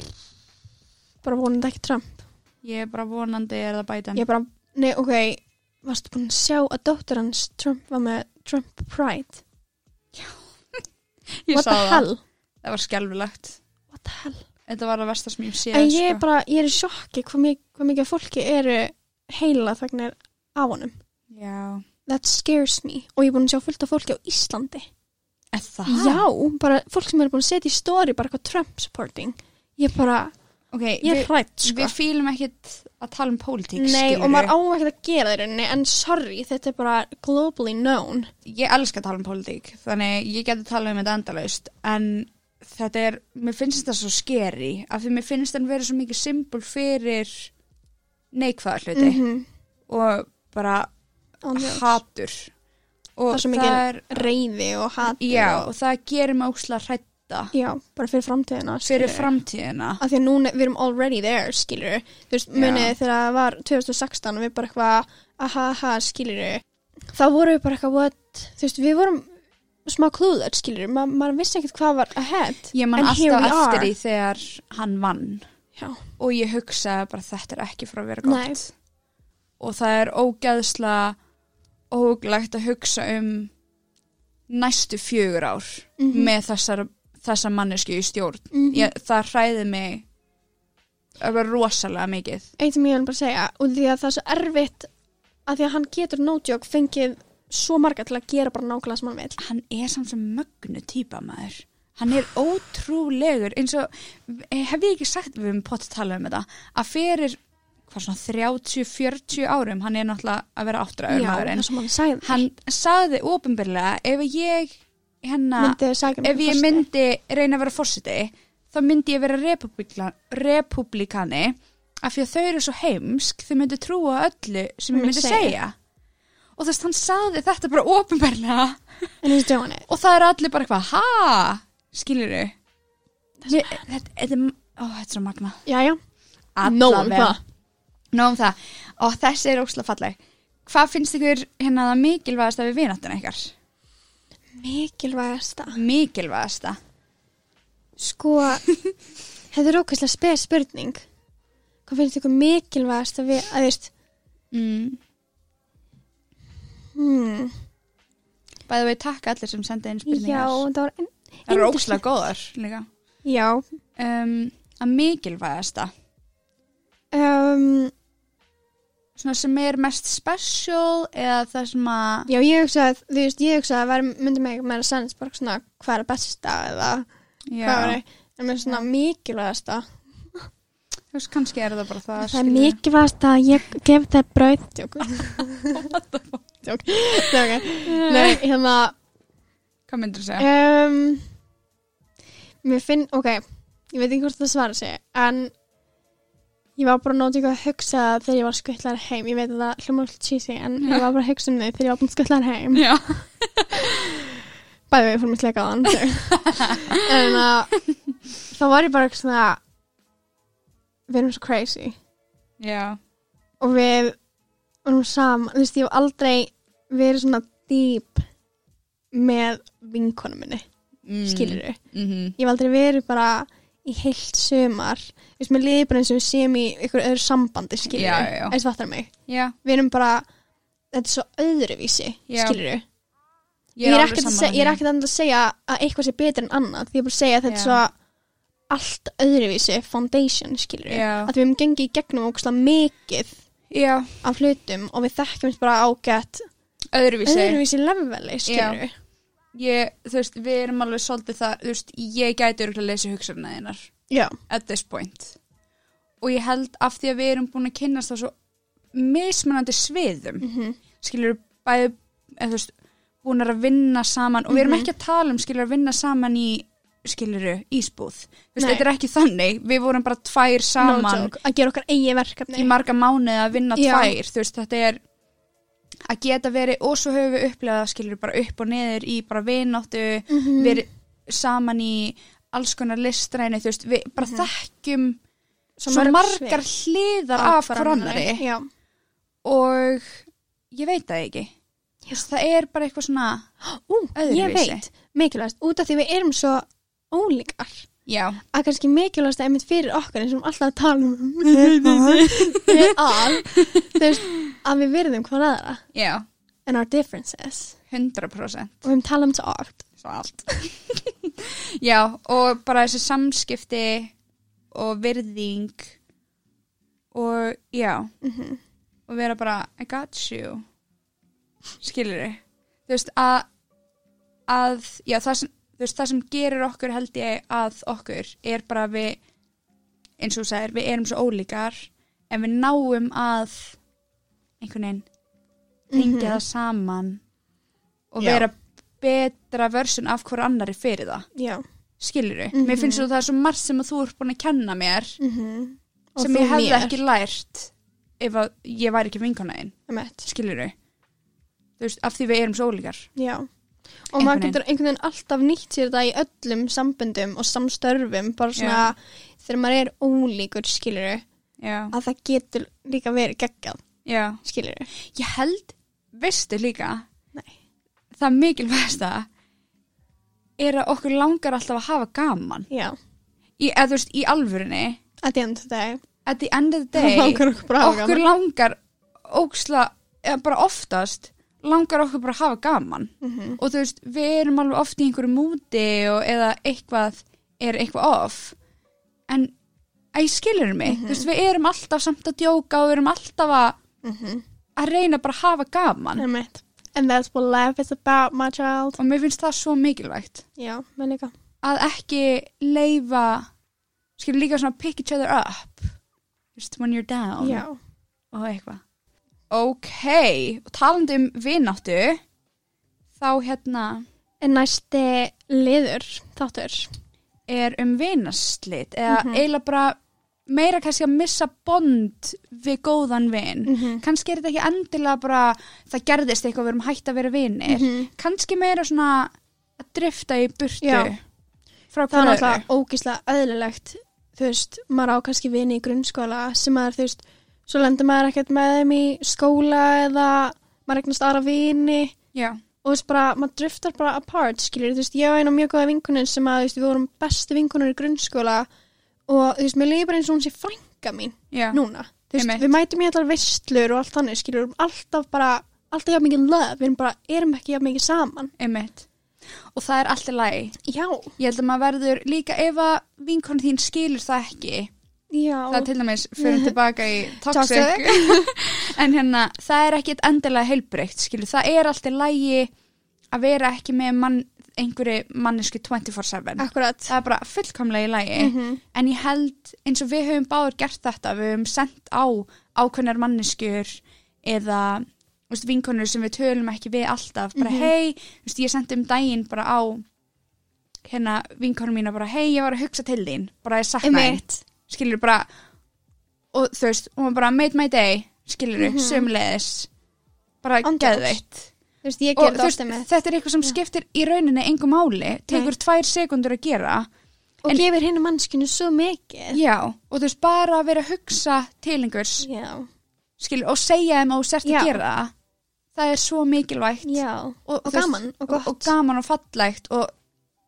D: bara vonandi ekki Trump
A: ég er bara vonandi er það bætan
D: ég bara nei ok varstu búin að sjá að dóttur hans Trump var með Trump Pride
A: ég
D: what
A: sá
D: the
A: það,
D: hell
A: það var skelvilegt
D: what the hell
A: þetta var það versta sem ég sé
D: en ég er
A: sko.
D: bara ég er í sjokki hvað mikið, hvað mikið af fólki eru heila þagnir á honum
A: já,
D: That scares me og ég er búin að sjá fullt af fólki á Íslandi
A: er það?
D: Já, bara fólk sem er búin að setja í story bara eitthvað Trump supporting Ég bara,
A: ok,
D: ég er
A: við,
D: hrætt sko
A: við fýlum ekkit að tala um pólitík
D: Nei,
A: skilurðu.
D: og maður á ekkert að gera þeir rauninni en sorry, þetta er bara globally known
A: ég elska að tala um pólitík þannig ég geti tala um þetta endalaust en þetta er, mér finnst þetta svo skeri af því mér finnst þetta verið svo mikið symbol fyrir neikvæða hluti
D: -hmm.
A: og bara
D: Það
A: hatur og
D: er svo mikið
A: það er
D: reyði og hati
A: já, og
D: og,
A: það gerir mig óslega hrætta
D: já, bara fyrir framtíðina
A: fyrir
D: skilurðu.
A: framtíðina
D: að því að núna við erum already there, skilur þú veist,
A: Já.
D: munið þegar það var 2016 og við bara eitthvað, aha, aha, skilur þá vorum við bara eitthvað what, þú veist, við vorum smá klúðar, skilur, Ma maður vissi ekkert hvað var ahead,
A: ég man
D: And here
A: alltaf
D: we are.
A: eftir því þegar hann vann
D: já,
A: og ég hugsaði bara þetta er ekki frá að vera gott
D: næ
A: og það er ógæðslega óglægt að hugsa um næstu fjögur ár
D: Mhm.
A: með þessar, þessar mannesku í stjórn.
D: Mhm.
A: Ég, það hræði mig að vera rosalega mikið.
D: eitt sem ég vil bara segja, og því að það er svo erfitt að því að hann getur no joke fengið svo marga til að gera bara nákvæmlega sem hann vil,
A: Hann er samt sem mögnu típa maður. Hann er ótrúlegur eins og, eh, hef ég ekki sagt við um pott tala um þetta, að fyrir hvað svona 30-40 árum hann er náttúrulega að vera áttræður
D: já,
A: maðurinn.
D: það sem hann sagði
A: Hann sagði ofinbyrlega ef ég hérna
D: myndi sækja mig um
A: ef ég
D: fyrst.
A: myndi reyna að vera fórsiti þá myndi ég vera republikan, republikani af því að þau eru svo heimsk þau myndi trúa öllu sem ég
D: Myndi
A: myndi
D: segja.
A: segja og þess að hann saði þetta bara ofinberlega
D: And he's doing it.
A: og það er allir bara eitthvað ha, skilur þau þetta, þetta, þetta, er- ó, þetta er svo magna
D: Jæja.
B: Nóg um
A: Allavega.
B: það.
A: Nóg um það og þessi er ósla falleg hvað finnst ykkur hérna það mikilvægasta við vináttina ykkar?
D: Mikilvægasta.
A: mikilvægasta
D: Sko, þetta er ókvæslega spes spurning. Hvað finnst ykkur mikilvægasta við, að þú veist,
A: mm.
D: hmm,
A: bæði við takk allir sem senda inn
D: já,
A: spurningar
D: það var, en,
A: það eru
D: yndislega.
A: ósla góðar líka
D: já,
A: um, að mikilvægasta
D: um,
A: svona sem er mest special eða það sem að
D: já, ég hugsa að, þú veist, ég hugsa að vera, myndi mig meira sens, bara svona, hvað er besta eða, hvað
A: já,
D: er, en mér svona mikilvægasta.
A: þú veist kannski er það bara það
D: Það er
A: skilurðu.
D: mikilvægasta að ég gef þér brauð, <laughs> tjók. Tjók, tjók, nei, hérna,
A: hvað myndir þú segja?
D: um, Mér finn, ok Ég veit ekki hvort það svara sig En ég var bara að nóti eitthvað að hugsa Þegar ég var skuttlar heim Ég veit að það hljóma alltaf cheesy En ég var bara að hugsa um þau þegar ég var búin skuttlar heim
A: já,
D: Bæði við fórum að sleika á hann En að Þá var ég bara eitthvað svona Við erum svo crazy
A: já,
D: Og við erum saman Þú veist, ég hef aldrei verið svona deep Með vinkonum minni
A: mm.
D: Skilur þau
A: mm
D: ég hef aldrei verið bara í heilt sömar við sem er liðið bara eins og við séum í ykkur öðru sambandi skilur
A: Já, já, já.
D: eins vatnar mig
A: já,
D: við erum bara, þetta er svo öðruvísi
A: Já.
D: skilur við
A: ég
D: ég er
A: alveg
D: ekkert að
A: sammála
D: seg- ég er
A: því.
D: ekkert endilega að segja að eitthvað sé betur en annað því ég er bara að segja að þetta
A: Já.
D: er svo allt öðruvísi foundation skilur við
A: Já.
D: að við hefum gengið í gegnum ógustlega mikið
A: já,
D: af hlutum og við þekkjum þetta bara ágætt
A: öðruvísi
D: öðruvísi leveli skilur við
A: ég, þú veist, við erum alveg svolítið það, þú veist, ég gæti örgulega að lesa hugsanina þinnar
D: já,
A: at this point og ég held af því að við erum búin að kynnast á svo mismunandi sviðum mm
D: Mhm.
A: -hmm. skilur bæði eða, þú veist, búin að vinna saman og við
D: Mhm.
A: erum ekki að tala um skilur að vinna saman í skiluru ísbúð Þú veist,
D: Nei.
A: þetta er ekki þannig, við vorum bara tvær
D: no
A: saman
D: joke, að gera okkar eigi verkefni
A: í marga mánuði að vinna
D: Já.
A: tvær þú veist, þetta er að geta verið og svo höfum við upplegað skilur bara upp og niður í bara vináttu verið saman í alls konar listræni, þú veist, við bara þekkjum Mhm. svo,
D: mörg
A: margar
D: svið.
A: hliðar af
D: Af
A: hver annari
D: já
A: og ég veit það ekki Þú veist, það er bara eitthvað svona
D: Ú, ég
A: Öðruvísi.
D: veit, mikilvægast, út af því við erum svo ólíkar
A: já,
D: að kannski mikilvægast einmitt fyrir okkar eins og við erum alltaf að tala <laughs> um við erum að þú veist, að við verðum hvað aðra
A: já,
D: en our differences
A: 100%
D: og við höfum talað um þetta oft
A: svo allt já og bara þessi samskipti og virðing og já og vera bara I got you skilur þið þú veist að, að já, það, sem, þú veist, það sem gerir okkur held ég að okkur er bara að við eins og þú sagir við erum svo ólíkar en við náum að einhvern veginn tengja það saman og
D: Já.
A: vera betra versun af hver annari fyrir það
D: já,
A: skilur við, mér
D: Mhm.
A: finnst þú það er svo margt sem að þú ert búin að kenna mér
D: Og
A: sem
D: þú
A: ég hefði
D: mér.
A: ekki lært ef að ég væri ekki vinkona einn
D: emmett,
A: skilur við þú veist, af því við erum svo ólíkar
D: já og
A: Einhvern
D: maður
A: veginn.
D: getur einhvern veginn alltaf nýtt sér þetta í öllum sambundum og samstörfum bara svona
A: Já.
D: þegar maður er ólíkur skilur
A: já,
D: að það getur líka verið geggjað
A: já,
D: skilur
A: ég held veistu líka
D: Nei.
A: það mikilvægasta er að okkur langar alltaf að hafa gaman
D: já,
A: í, eða þú veist, í alvörinni
D: að því endur þetta
A: at the end
D: <laughs>
A: of the day
D: langar okkur bara að hafa
A: okkur
D: gaman.
A: langar óksla, eða bara oftast langar okkur bara að hafa gaman
D: Mhm.
A: og þú veist, við erum alveg oft í einhverju múti og eða eitthvað er eitthvað off en að ég skilur mig þú veist, við erum alltaf samt að djóka og við erum alltaf að,
D: Mhm.
A: að reyna bara að hafa gaman
D: Einmitt. And that's what life is about, my child.
A: og mér finnst það svo mikilvægt
D: Já, mér líka.
A: að ekki leifa skilur líka svona pick each other up just when you're down
D: Já.
A: og eitthvað ok, og talandi um vináttu þá hérna
D: En næsti liður, þáttur,
A: er um vinaslit eða
D: Mhm.
A: eiginlega bara meira kannski að missa bond við góðan vin
D: Mhm.
A: kannski er þetta ekki endilega bara það gerðist eitthvað við erum hægt að vera vinir
D: Mhm.
A: kannski meira svona að drifta í burtu
D: Já. það
A: frá
D: er
A: hverju öðru.
D: náttúrulega ógislega öðlilegt þú veist, maður á kannski vini í grunnskóla sem maður, þú veist, svo lendur maður ekkert með þeim í skóla eða maður eignast aðra vini
A: Já.
D: og þú veist bara, maður driftar bara apart skilur, þú veist, ég og eina mjög góða vinkunin sem að, þú veist, við vorum bestu vinkunir í grunnskóla og þú veist, mér líður bara eins og hún sé frænka mín
A: Já.
D: núna, þú veist,
A: Einmitt.
D: við mætum í allar veistlur og allt þannig, skilur, við erum alltaf bara alltaf jafn mikið love, við erum bara, erum ekki jafn mikið saman,
A: einmitt og það er allt í lagi
D: já,
A: ég held að maður verður líka ef að vinkonu þín skilur það ekki
D: já
A: það er til dæmis fyrir tilbaka í
D: Toxic.
A: toxic <laughs> en hérna það er ekkit endilega heilbreykt skilur það er allt í lagi að vera ekki með mann, einhverju mannesku 24-7
D: akkurat,
A: það er bara fullkomlega í lagi en ég held eins og við höfum báður gert þetta við höfum sendt á ákveðnar manneskjur eða þú veist, vinkonur sem við tölum ekki við alltaf bara hei, þú veist, ég sendi um daginn bara á hérna vinkonur mína bara hei, ég var að hugsa til þín bara ég sakna þín
D: emitt
A: skilur bara og þú veist, hún var bara made my day skilur, mm
D: Mhm.
A: sömulegis bara
D: Andjáls.
A: geðveitt
D: Þú veist, ég
A: og
D: gerði
A: þú
D: það
A: veist,
D: ofta með
A: þetta er eitthvað sem skiptir í rauninni engu máli, tekur tvær sekundur að gera
D: og
A: en-
D: gefur henni mannskinu svo mikið
A: Já, og þú veist, bara að vera að hugsa til einhvers,
D: já,
A: skilur, og segja þeim að þú sért
D: Já.
A: að gera það, það er svo mikilvægt.
D: já og,
A: þú
D: gaman og gott
A: Og, gaman og fallegt og,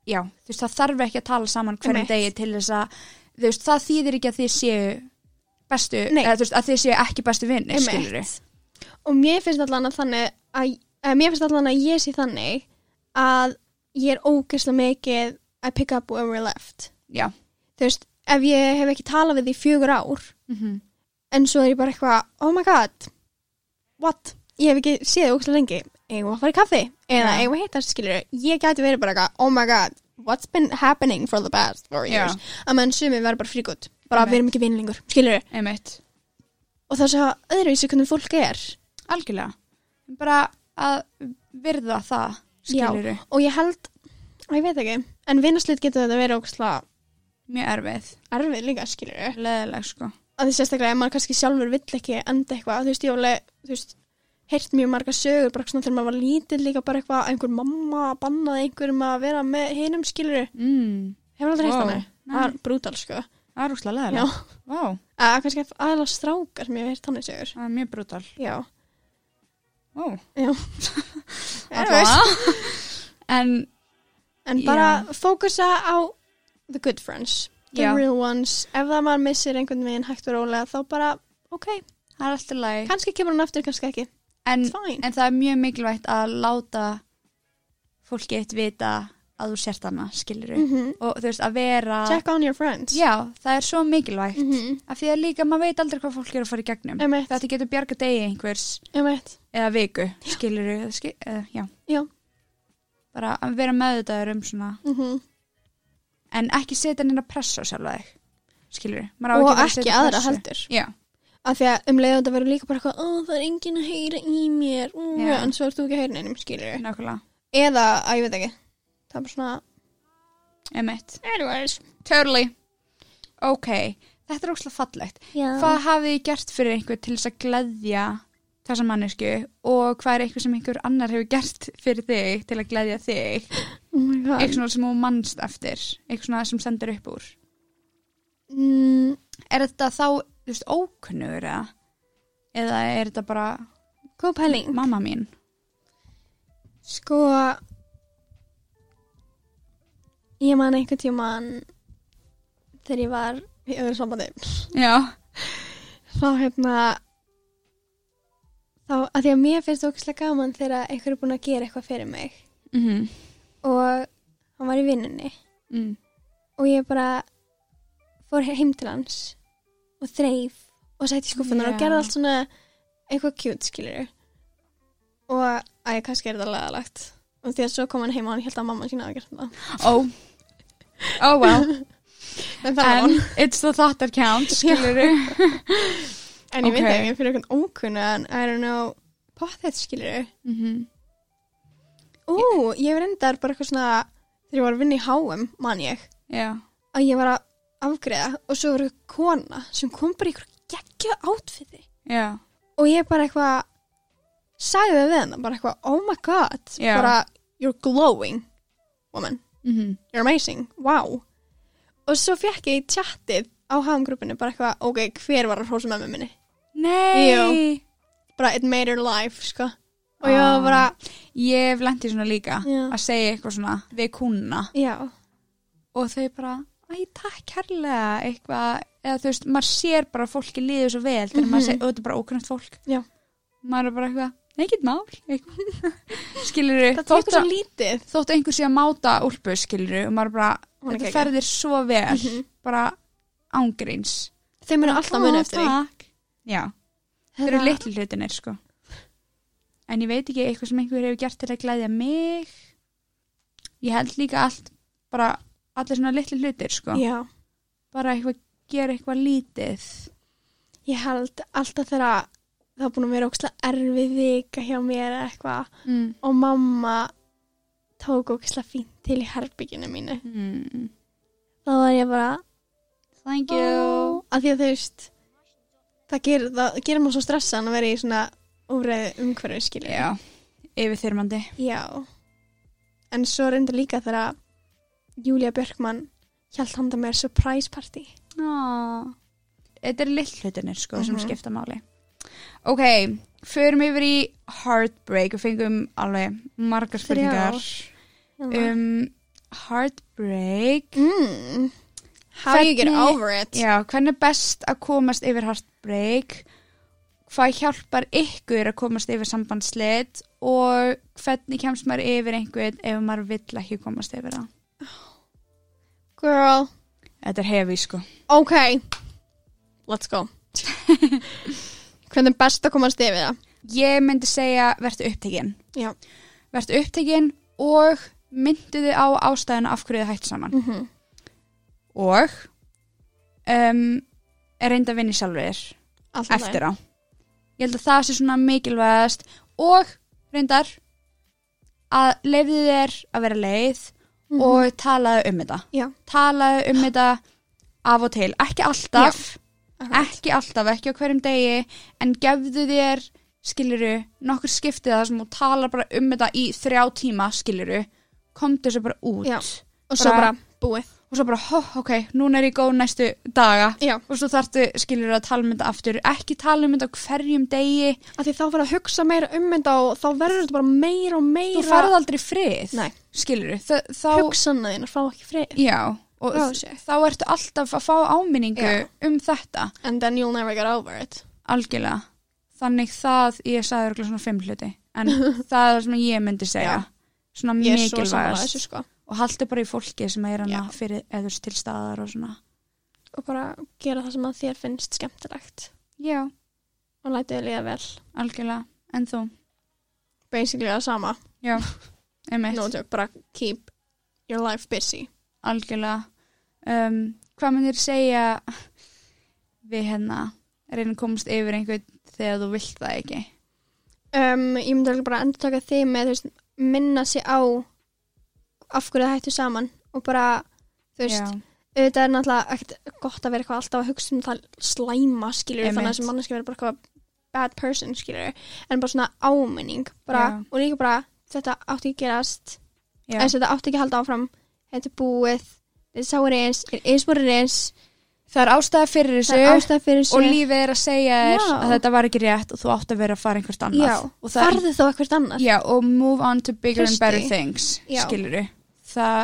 A: já, þú veist, það þarf ekki að tala saman hverjum
D: Einmitt.
A: degi til þess að, þú veist, það þýðir ekki að þið séu bestu,
D: Nei.
A: eða þú veist, að þið séu ekki bestu vinni,
D: Einmitt.
A: skilur
D: og mér finnst allan að þannig að, að mér finnst allan að ég sé þannig að ég er ógeðslega mikið I pick up where we're left
A: Já.
D: þú veist, ef ég hef ekki talað við því fjögur ár
A: Mm
D: en svo er ég bara eitthvað, oh my god what, ég hef ekki séð þig ógeðslega lengi, eigum við að fara í kaffi eða
A: Já.
D: eigum við að heita, skilur, ég gæti verið bara eitthvað, oh my god, what's been happening for the past four
A: Já.
D: years að meðan sumið verður bara fríkut, bara
A: Einmitt.
D: við erum ekki vinn lengur, skilur
A: Einmitt.
D: og það er svo öðruvísi hvernig fólk er
A: Algjörlega. Bara að virða það, skilur
D: og ég held, að ég veit ekki en vinaslit getur þetta verið ógslag
A: Mjög erfið.
D: erfið líka skilur
A: Leðileg, sko.
D: að því sérstaklega ef maður kannski sjálfur vill ekki enda eitthvað, þú veist, ég alveg þú veist, heyrt mjög marga sögur bara svona þegar maður var lítill líka bara eitthvað að einhver mamma bannaði einhverjum að vera með hinum skilur,
A: Mm.
D: hefur aldrei heyrt
A: Vá.
D: þannig það
A: Nei.
D: er brútal sko,
A: Það er úrslega
D: já
A: leðileg. Vá,
D: að kannski aðla strákar sem ég hef heyrt þannig sögur
A: það er mjög brútal.
D: já,
A: Vá. <laughs>
D: já
A: Alla. en
D: En bara fókusa á the good friends, the
A: Já.
D: real ones. Ef það maður missir einhvern veginn hægt og rólega þá bara, ok,
A: það er alltaf læg.
D: kannski kemur hann aftur, kannski ekki.
A: En,
D: It's fine.
A: en það er mjög mikilvægt að láta fólki eitt vita að þú sért hana, skilur
D: Mm -hmm.
A: Og þú veist, að vera...
D: Check on your friends.
A: Já, það er svo mikilvægt.
D: Mm -hmm.
A: Af því að líka, maður veit aldrei hvað fólk er að fara í gegnum.
D: Emmett,
A: Þetta getur bjarga degi einhvers
D: emmett.
A: eða viku, skilur við, skil, uh, já.
D: Já.
A: Bara að vera meðvitaður um svona,
D: Mhm.
A: en ekki setja neina pressa á sjálfa þig, skilur við.
D: Og ekki aðra heldur.
A: Já,
D: Af því að um leiðum þetta verður líka bara eitthvað, oh, það er enginn að heyra í mér, mm,
A: Já.
D: en svo ert þú ekki að heyra neinum, skilur við.
A: nákvæmlega,
D: Eða, að ég veit ekki, það er bara svona,
A: emitt.
D: anyways.
A: Totally. Ok, þetta er óslega fallegt.
D: Já.
A: Hvað hafið þið gert fyrir einhver til þess að gleðja þessa mannesku og hvað er eitthvað sem einhver annar hefur gert fyrir þig til að gleðja þig?
D: Oh my god.
A: Eitthvað svona sem þú mannst eftir, eitthvað svona sem sendur upp úr.
D: Mm,
A: Er þetta þá, þú veist, ókunnur eða? Eða er þetta bara
D: Góð pæling.
A: mamma mín?
D: Sko Ég man einhvern tíman þegar ég var í öðru sambandi
A: Já.
D: þá hérna þá að því að mér finnst ógæslega gaman þegar einhver er búin að gera eitthvað fyrir mig
A: Mm
D: og hann var í vinnunni
A: mm.
D: og ég bara fór heim til hans og þreif og sætti skúfunar yeah.
A: Já.
D: og gerði allt svona eitthvað cute skilur og að ég kannski er þetta leðalagt og því að svo kom hann heim og hann held að mamma sína að gera þetta
A: Oh. Oh well.
D: En <laughs> það var
A: And
D: hún.
A: it's the thought that counts, skilur
D: <laughs> En ég veit
A: ok.
D: ekki fyrir eitthvað ókunna en I don't know, potthett skilur
A: mm -hmm.
D: Ú, ég hef reyndar bara eitthvað svona þegar ég var að vinna í HM, man ég
A: Já.
D: að ég var að afgreða og svo voru kona sem kom bara í ykkur geggju átfiði
A: já,
D: og ég bara eitthvað sagði það við hennar, bara eitthvað, oh my god
A: Já.
D: bara, you're glowing woman,
A: mm
D: you're amazing wow, og svo fekk ég í tjattið á hafumgrúpinu, bara eitthvað ok, hver var að hrósa mömmu minni
A: nei
D: Jú. bara, it made her life, sko og ég
A: Ah.
D: var bara,
A: ég hef lent í svona líka
D: Já.
A: að segja eitthvað svona við kúnna
D: já
A: og þau bara, æ, takk kærlega eitthvað, eða þú veist, maður sér bara að fólki líður svo vel þegar
D: Mhm.
A: maður segir, og þetta er bara ókunnast fólk
D: Já.
A: maður er bara eitthvað, ekkert mál eitthvað. <laughs> skilur
D: það
A: þótt,
D: tók svo
A: að-
D: lítið
A: þótt einhver sé að máta úlpu skilur og maður er bara,
D: Hún er
A: þetta
D: geggjuð.
A: ferðir svo vel
D: Mhm.
A: bara ángreins
D: þeir munu alltaf muni eftir því
A: takk. já, þau eru litlu hlutinir sko en ég veit ekki eitthvað sem einhver hefur gert til að glæðja mig ég held líka allt bara allir svona litlu hlutir sko
D: já
A: bara eitthvað, gera eitthvað lítið
D: Ég held alltaf þegar það er búin að vera ókslega erfið vika hjá mér eða eitthvað
A: mm.
D: og mamma tók ókslega fínt til í herbygginu mínu.
A: Mm.
D: Þá var ég bara, "Ó",
A: thank you
D: af því að þú veist, það gerir, það gerir maður svo stressan að vera í svona úræðu umhverfið skilja.
A: já, yfirþyrmandi
D: Já. En svo reyndi líka þegar Júlia Björkmann hjælt handa mér surprise party.
A: þetta er lill hlutinir sko sem
D: Mhm.
A: skipta máli ok, förum yfir í heartbreak og fengum alveg margar spurningar um, heartbreak
D: Mm. How do you get
A: Hvernig-
D: over it?
A: Já, hvernig er best að komast yfir heartbreak? Hvað hjálpar ykkur að komast yfir sambandslit og hvernig kemst maður yfir einhvern ef maður vill ekki komast yfir það?
D: Girl.
A: Þetta er hefi, sko.
D: Ok, let's
A: <laughs>
D: go Hvernig er best að komast yfir það?
A: Ég myndi segja vertu upptekinn.
D: Já.
A: Vertu upptekinn og myndu þið á ástæðuna af hverju þið hætt saman.
D: Mm -hmm.
A: Og um, er reynd að vinna í sjálfur þér. eftir á ég held að það sé svona mikilvægast og reyndar að leiði þér að vera leið og talaðu um þetta
D: Mhm. Já.
A: talaðu
D: <laughs>
A: um þetta af og til, ekki alltaf ekki alltaf, ekki á hverjum degi en gefðu þér skiluru, nokkur skiptið það sem þú talar bara um þetta í þrjá tíma skiluru, komdu þessu bara út
D: Já. Og svo bara
A: bara-
D: búið
A: og svo bara, hó, ok, núna er ég góð næstu daga
D: Já,
A: og svo þarftu skilur að tala um þetta aftur ekki tala um þetta á hverjum degi
D: af því þá verður að hugsa meira um þetta og þá verður þetta bara meira og meira
A: þú farð aldrei frið
D: Nei.
A: skilur Þa, þá,
D: hugsanæðin að um fá ekki frið
A: já, og
D: Frá þessu.
A: þá ertu alltaf að fá áminningu
D: Já.
A: um þetta
D: And then you'll never get over it
A: algjörlega, þannig það ég sagði örugglega svona fimm hluti
D: <laughs>
A: en það er það sem ég myndi segja
D: Já.
A: svona
D: Ég er svo samanlega
A: mikilvægast
D: þessu sko
A: og haldi bara í fólki sem er hana
D: Já.
A: fyrir eður til staðar og svona
D: Og bara gera það sem að þér finnst skemmtilegt
A: já,
D: Og lætið þið líða vel
A: algjörlega, en þú
D: Basically það sama
A: einmitt,
D: No joke, bara keep your life busy
A: algjörlega um, hvað myndir segja við hérna reyna að komast yfir einhvern þegar þú vilt það ekki
D: um, ég myndi alveg bara að endur taka þig með þú veist, minna sig á af hverju það hættu saman og bara, þú veist, auðvitað er náttúrulega ekkert gott að vera eitthvað alltaf að hugsa um það slæma, skilur
A: Einmitt.
D: þannig að þessi manneski verður bara eitthvað bad person, skilur en bara svona áminning bara,
A: Já.
D: og líka bara, þetta átti ekki að gerast
A: já,
D: eða þetta átti ekki að halda áfram þetta er búið, þetta er sáir eins it is what it is,
A: það er ástæða fyrir þessu
D: það er ástæð fyrir
A: og
D: þessu
A: lífið er að segja þér
D: Já.
A: að þetta var ekki rétt og þú átt að vera að fara einhvert annað
D: já,
A: og það
D: farðu þó eitthvað annars
A: já, og move on to bigger
D: Treysti.
A: and better things
D: Já.
A: skilur það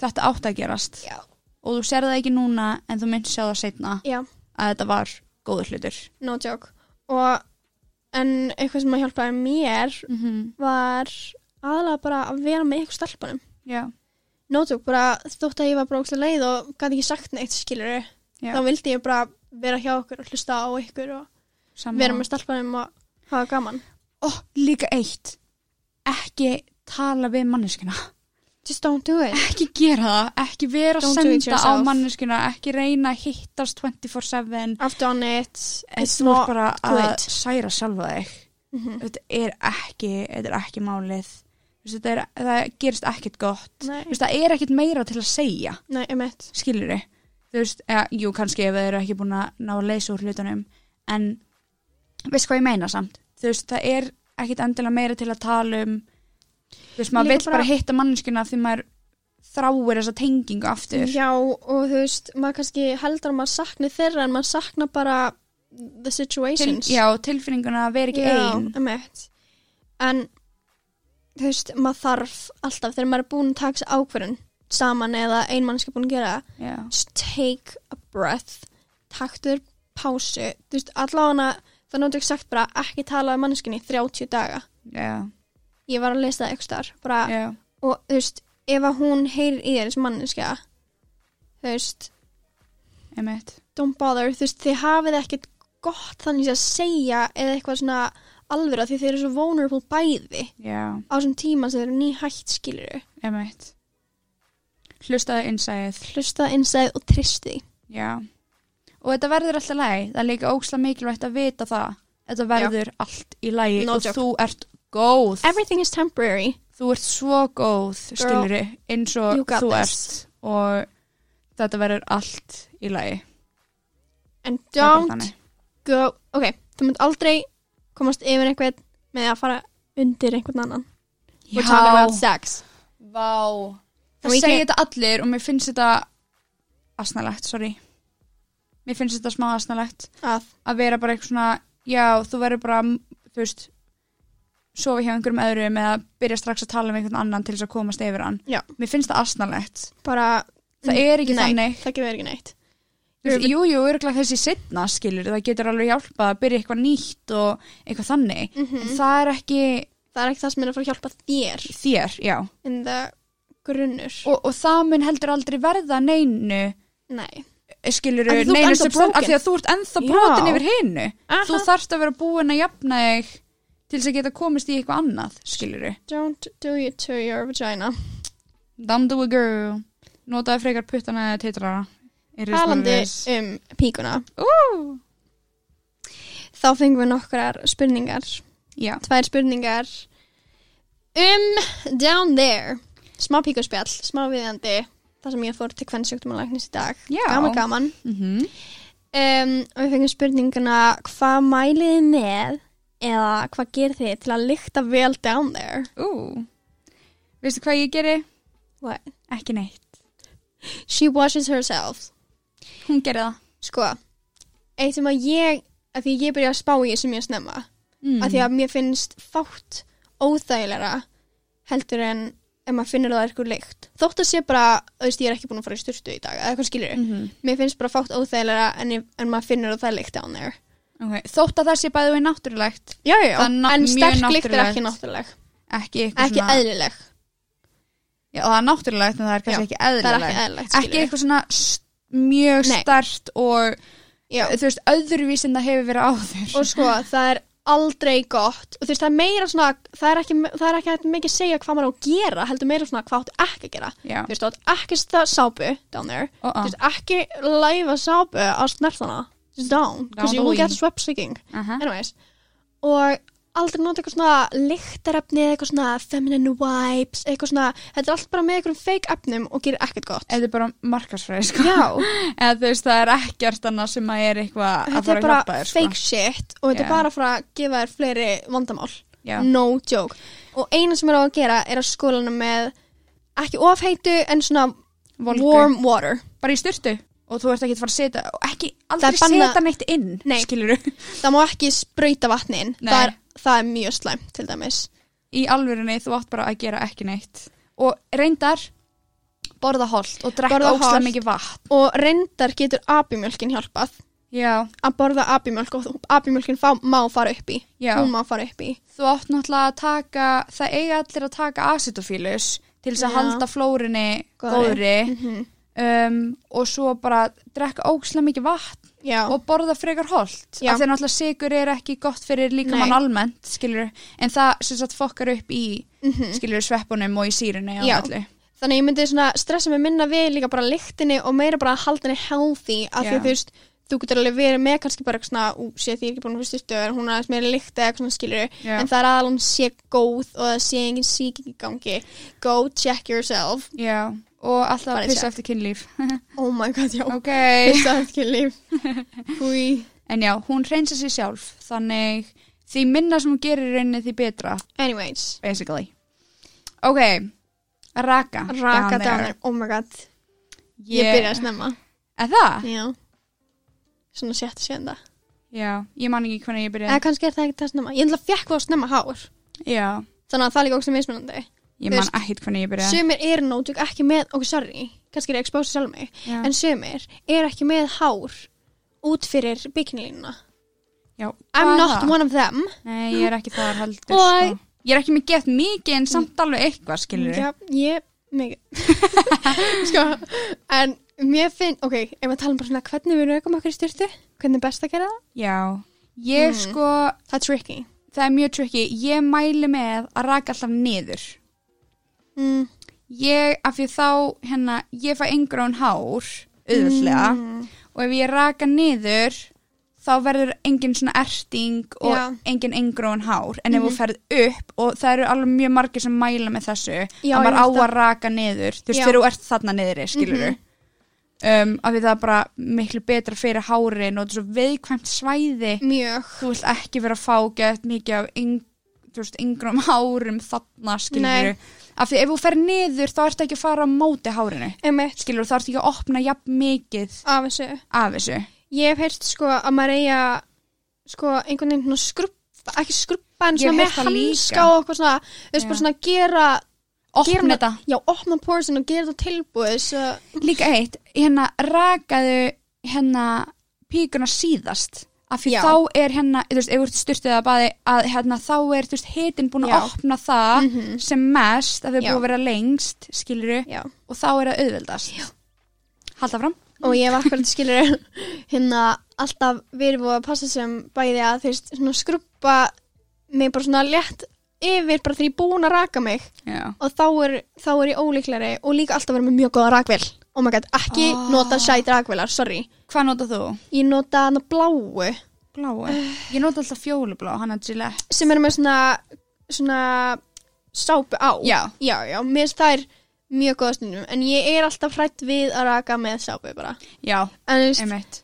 A: þetta átt að gerast
D: Já.
A: og þú sér það ekki núna en þú myndir sjá það setna
D: Já.
A: að þetta var góður hlutur
D: no joke og en eitthvað sem að hjálpaði mér
A: mm -hmm.
D: Mhm. var aðalega bara að vera með eitthvað stelpunum
A: já,
D: no joke, bara þótt að ég var bara brókslega leið og gæti ekki sagt neitt skilur
A: Já.
D: þá vildi ég bara vera hjá okkur og hlusta á ykkur og
A: saman
D: vera með stelpunum og hafa gaman
A: og Oh, líka eitt ekki tala við manneskina
D: just don't do it
A: ekki gera það, ekki vera að
D: Don't do it
A: senda á
D: yourself.
A: manneskina ekki reyna að hittast 24-7
D: I've done it,
A: En
D: it's
A: þú ert
D: not
A: bara að
D: good.
A: særa sjálfa þig
D: Mhm.
A: þetta er ekki, þetta er ekki málið Þú veist, þetta er, það gerist ekkert gott
D: Nei.
A: Þú veist, það er ekkert meira til að segja
D: Nei, emitt.
A: skilur þið þú veist, eða, jú, kannski ef þið eru ekki búin að ná að leysa úr hlutunum en veist hvað ég meina samt þú veist, það er ekkit endilega meira til að tala um þú veist, maður
D: Líka
A: vill bara,
D: bara-
A: hitta manneskuna því maður þráir þessa tengingu aftur
D: Já, og þú veist, maður kannski heldur að maður sakni þeirra en maður sakna bara the
A: Til,
D: situations.
A: já, tilfinninguna að vera ekki ein
D: emitt. En, þú veist, maður þarf alltaf þegar maður er búin að taka sér ákverðin saman eða ein mannska búin að gera það,
A: já,
D: just take a breath, taktu þér pásu, þú veist, allavega það náttu ekki sagt bara ekki tala um mannskinni 30 daga.
A: já,
D: Ég var að lesa það eitthvað þar, bara
A: já,
D: og þú veist, ef að hún heyrir í þér sem manneskja þú veist,
A: emitt
D: don't bother þú veist, þið hafið ekkert gott þannig að segja eða eitthvað svona alvöru af því þið eru svo vulnerable bæði
A: já,
D: á þessum tíma sem þið eru nýhætt skiluru
A: emitt hlustaðu innsæð
D: hlusta innsæð og tristi
A: já, og þetta verður alltaf læg það er líka óksla mikilvægt að vita það þetta verður allt í lægi
D: No
A: og
D: joke.
A: þú ert góð
D: everything is temporary
A: þú ert svo góð skiluru eins og
D: you got
A: þú
D: this.
A: ert og þetta verður allt í lagi
D: and
A: Það er bara
D: don't
A: þannig.
D: go ok, þú munt aldrei komast yfir einhvern með að fara undir einhvern annan we're talking about
A: já,
D: sex
A: vá
D: And
A: það
D: we
A: segir
D: can-
A: þetta allir og mér finnst þetta asnalegt, sorry mér finnst þetta smá asnalegt
D: að,
A: að vera bara eitthvað svona já, þú verður bara, þú veist sofa hjá einhverjum öðrum eða byrja strax að tala um einhvern annan til þess að komast yfir hann
D: Já.
A: mér finnst það asnalegt
D: bara,
A: það er ekki
D: nei,
A: þannig
D: það gefur ekki neitt
A: Þú veist, Jú, jú, örgulega þessi setna skilur, það getur alveg hjálpað að byrja eitthvað nýtt og eitthvað þannig.
D: Mhm.
A: En það er ekki
D: það er ekki það sem er að fara að hjálpa þér
A: þér, já.
D: in the grunnur
A: Og, og það mun heldur aldrei verða neinu,
D: nei,
A: skilur,
D: Af því þú ert
A: Eh, neinu
D: ennþá broken.
A: af því að þú ert ennþá
D: Já.
A: brotin yfir hinu.
D: Aha.
A: Þú þarft að vera búin að jafna þig til þess að geta komist í eitthvað annað, skilur.
D: don't do it to your vagina
A: Dumb do a girl. Notaði frekar puttana eða titrara. It is what it
D: talandi
A: is.
D: um píkuna
A: Ú,
D: þá fengum við nokkrar spurningar
A: Já,
D: tvær spurningar um down there smá píkuspjall, smá viðjandi þar sem ég fór til hvern sjúkdómalæknis í dag
A: Já.
D: gaman gaman
A: mm
D: um, og við fengum spurninguna hvað mælið þið með eða hvað gerir þið til að lykta vel down there
A: ú. Veistu hvað ég geri?
D: What?
A: Ekki neitt.
D: she washes herself
A: Hún gerði það.
D: sko, eitt sem að ég af því ég byrja að spá í þessu mjög snemma
A: Mm.
D: af því að mér finnst fátt óþægilega heldur en ef maður finnur það eitthvað leikt þótt að sé bara, þú veist, ég er ekki búin að fara í styrtu í dag eða eitthvað skilur,
A: Mhm.
D: mér finnst bara fátt óþægilega en, ég- en maður finnur að það er leikt down there
A: Ok, Þótt að það sé bæði við náttúrulegt
D: já, já,
A: Það er ná-
D: en
A: mjög
D: sterk leikt er
A: náttúrulegt.
D: ekki náttúruleg
A: ekki eitthvað
D: ekki
A: svona
D: eðlileg,
A: já, það er náttúrulegt en það er kannski
D: Já,
A: ekki
D: það er
A: eðlilegt
D: ekki
A: ekki,
D: eðlilegt skilur
A: eitthvað svona s- mjög
D: Nei.
A: stert og
D: Já.
A: þú veist öðruvís en það hefur verið áður
D: og sko, það er aldrei gott og þú veist, það er meira svona það er ekki, það er ekki hægt mikið að segja hvað maður á að gera heldur meira svona hvað áttu ekki að gera
A: já,
D: þú veist, þú átt ekki stað sápu down there,
A: og
D: þú
A: að
D: veist, ekki læfa sápu á snertana, just down because
A: Down
D: you will
A: the
D: get
A: way.
D: swept sticking
A: Aha.
D: anyways, og aldrei nota eitthvað svona lyktarefni eða eitthvað svona feminine wipes, eitthvað svona þetta er allt bara með eitthvað fake efnum og gerir ekkert gott
A: eða bara markarsfræði sko
D: já,
A: <laughs> eða þú veist það er ekkert annað sem að er eitthvað að
D: þetta er
A: fara að hjálpa
D: bara
A: þér sko.
D: fake shit og þetta
A: Já.
D: er bara að fara að gefa þér fleiri vandamál
A: já,
D: no joke og eina sem er á að gera er að skólana með ekki ofheitu en svona
A: volgu,
D: warm water
A: bara í styrtu og þú ert ekki að fara að setja og ekki
D: Það er
A: aldrei
D: bannað-
A: setja neitt inn
D: Nei.
A: skilur
D: það má ekki sprauta vatnin
A: Nei.
D: það er, það er mjög slæmt til dæmis
A: í alvörunni þú átt bara að gera ekki neitt og reyndar borða holt og drekka
D: Borða
A: ógstlega
D: hollt.
A: mikið vatn
D: og reyndar getur abimjölkin hjálpað
A: já,
D: að borða abimjölk og abimjölkin fá, má fara upp í
A: já,
D: hún má fara upp í
A: þú átt náttúrulega að taka það eiga allir að taka acetofilus til þess að
D: Já.
A: halda flórunni
D: Góðri.
A: góðri
D: Mhm.
A: um, og svo bara drekka ógstlega mikið vatn
D: já,
A: og borða frekar holt
D: Já.
A: af því að náttúrulega sigur er ekki gott fyrir líkamann
D: Nei.
A: almennt skilur, en það sem sagt fokkar upp í skilur sveppunum og í sírunni og
D: Mhm. Já.
A: öllu.
D: þannig ég myndi svona stressa mig minna við líka bara lyktinni og meira bara að halda henni healthy af því
A: Já.
D: þú veist þú getur alveg verið með kannski bara eitthvað svona, ú, sé því ég er ekki búin að fyrstu stöður, hún er aðeins meira lykt eða eitthvað svona skilur
A: Já.
D: en það er aðal hún sé góð og það sé engin síking í gangi go check yourself
A: Já, og alltaf
D: Bara
A: fyrst
D: check.
A: eftir
D: <laughs>
A: kynlíf
D: oh my god, já,
A: Ok
D: fyrst að ekki
A: <laughs>
D: líf húi,
A: En já, hún reynsa sig sjálf Þannig því minna sem hún gerir í rauninni því betra
D: anyways
A: Basically Ok, raka
D: raka dánir, oh my god ég
A: Ég
D: byrja að snemma
A: Er það?
D: já, svona sjætti sjönda
A: Já, ég man ekki hvernig ég
D: eða
A: byrjaði
D: kannski er það ekki það snemma, ég enda fjekk það snemma hár
A: Já,
D: þannig að það er líka ógst mismunandi
A: ég
D: Þú
A: man
D: veist,
A: ekkert hvernig ég byrjaði
D: sumir eru nótug ekki með, ok, sorry kannski er ég að expósa sjálf mig
A: Já.
D: en sumir er ekki með hár út fyrir bygginglínuna
A: Já,
D: I'm
A: hvað er
D: not
A: það?
D: one of them
A: Nei, ég er ekki þar heldur
D: Og-
A: sko. Ég er ekki með gett mikið en samt alveg eitthvað skilur
D: Já, ég, mikið sko, en mér finn ok, ef maður tala um bara svona hvernig við raukum okkur í styrtu, hvernig er best að gera það
A: Já,
D: Mm.
A: ég sko,
D: það er tricky
A: það er mjög tricky Ég mæli með að raka alltaf niður
D: mm.
A: Ég, af því þá, hérna, ég fæ engrón hár auðvöldlega
D: Mm.
A: og ef ég raka niður þá verður engin svona erting og
D: Já. Mhm.
A: engin engrón hár en ef þú ferð upp og það eru alveg mjög margir sem mæla með þessu
D: Já,
A: að maður
D: ég
A: á
D: veist
A: að raka niður þú veist
D: Já. Mhm.
A: þegar þú ert þarna niður skilur mm um, af því það er bara miklu betra fyrir hárin og þetta er svo veikvæmt svæði
D: mjög
A: þú vilt ekki vera að fá gett mikið af yng, þú veist, yngrum hárum þarna skilur
D: Nei.
A: af því ef þú fer niður þá ertu ekki að fara á móti hárinu
D: emitt
A: skilur þá ertu ekki að opna jafn mikið
D: af þessu
A: af þessu
D: ég hef heyrst sko að maður eiga sko einhvern veginn svona skrubba ekki skrubba en
A: Ég hef
D: svona
A: heyrt
D: með
A: það
D: hanska
A: líka.
D: og okkur svona þú veist
A: Já.
D: bara svona gera gera
A: opna
D: hana-
A: þetta
D: já, opna porsin og gera þetta tilbúið svo,
A: líka eitt, hérna rakaðu hérna píkuna síðast af því
D: Já.
A: þá er hérna, þú veist, ef þú ert styrtið að baði að hérna þá er, þú veist, hitin búin að
D: Já.
A: opna það sem mest að þau
D: Já.
A: búið að vera lengst, skiluru
D: já
A: og þá er það auðveldast Já. Halda fram
D: og ég hef akkurat skilur <laughs> hérna alltaf verið búið að passa sem bæði að þú veist svona skrubba mig bara svona létt yfir bara þegar ég er búin að raka mig
A: Já.
D: og þá er, þá er ég ólíklari og líka alltaf verið með mjög góða rakvél oh my god, ekki
A: Ah.
D: nota sæt rakvélar, sorry
A: Hvað notað þú?
D: ég nota hana bláu
A: Bláu? Ég nota alltaf fjólublá, hann er Gillette.
D: sem eru með svona svona sápu á
A: Já.
D: já, já, mér finnst það er mjög góða stundum en ég er alltaf hrætt við að raka með sápu bara
A: Já,
D: en þú veist,
A: einmitt.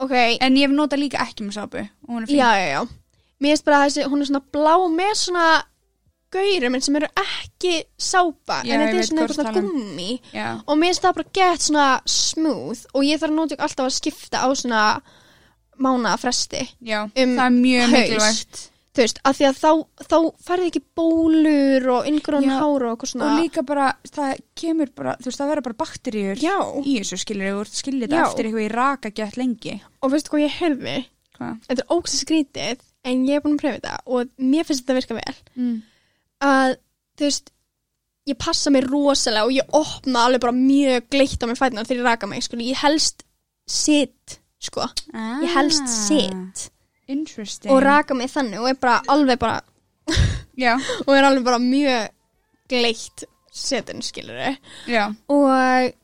D: ok,
A: En ég nota líka ekki með sápu og hún er fín.
D: já, já, já mér finnst bara að þessi, hún er svona blá með svona gaurum en sem eru ekki sápa
A: Já,
D: en
A: ég
D: þetta
A: veit
D: er svona eitthvað
A: hvað þú um. ert
D: svona
A: að tala
D: gummi
A: Já.
D: og mér finnst það bara gett svona smooth og ég þarf að nota alltaf að skipta á svona mánaða fresti
A: Já,
D: Um,
A: það er mjög
D: haus.
A: mikilvægt.
D: þú veist, af því að þá, þá færði ekki bólur og yngurón
A: Já,
D: hár og eitthvað svona
A: Og líka bara, það kemur bara, þú veist, það verður bara bakteríur
D: Já.
A: í þessu skilur, þú ert skilur þetta
D: Já.
A: eftir eitthvað í raka gett lengi.
D: og veistu hvað ég heyrði
A: Hvað?
D: þetta er ógst skrítið en ég er búin að pröfa þetta og mér finnst þetta virka vel
A: Mm.
D: að þú veist ég passa mig rosalega og ég opna alveg bara mjög gleitt á mér fætina þegar ég raka mig sko, ég helst sitt sko,
A: Ah.
D: ég helst sitt
A: Interesting.
D: og raka mig þannig og er bara alveg bara
A: Já,
D: og er alveg bara mjög gleitt setin skilur
A: já,
D: og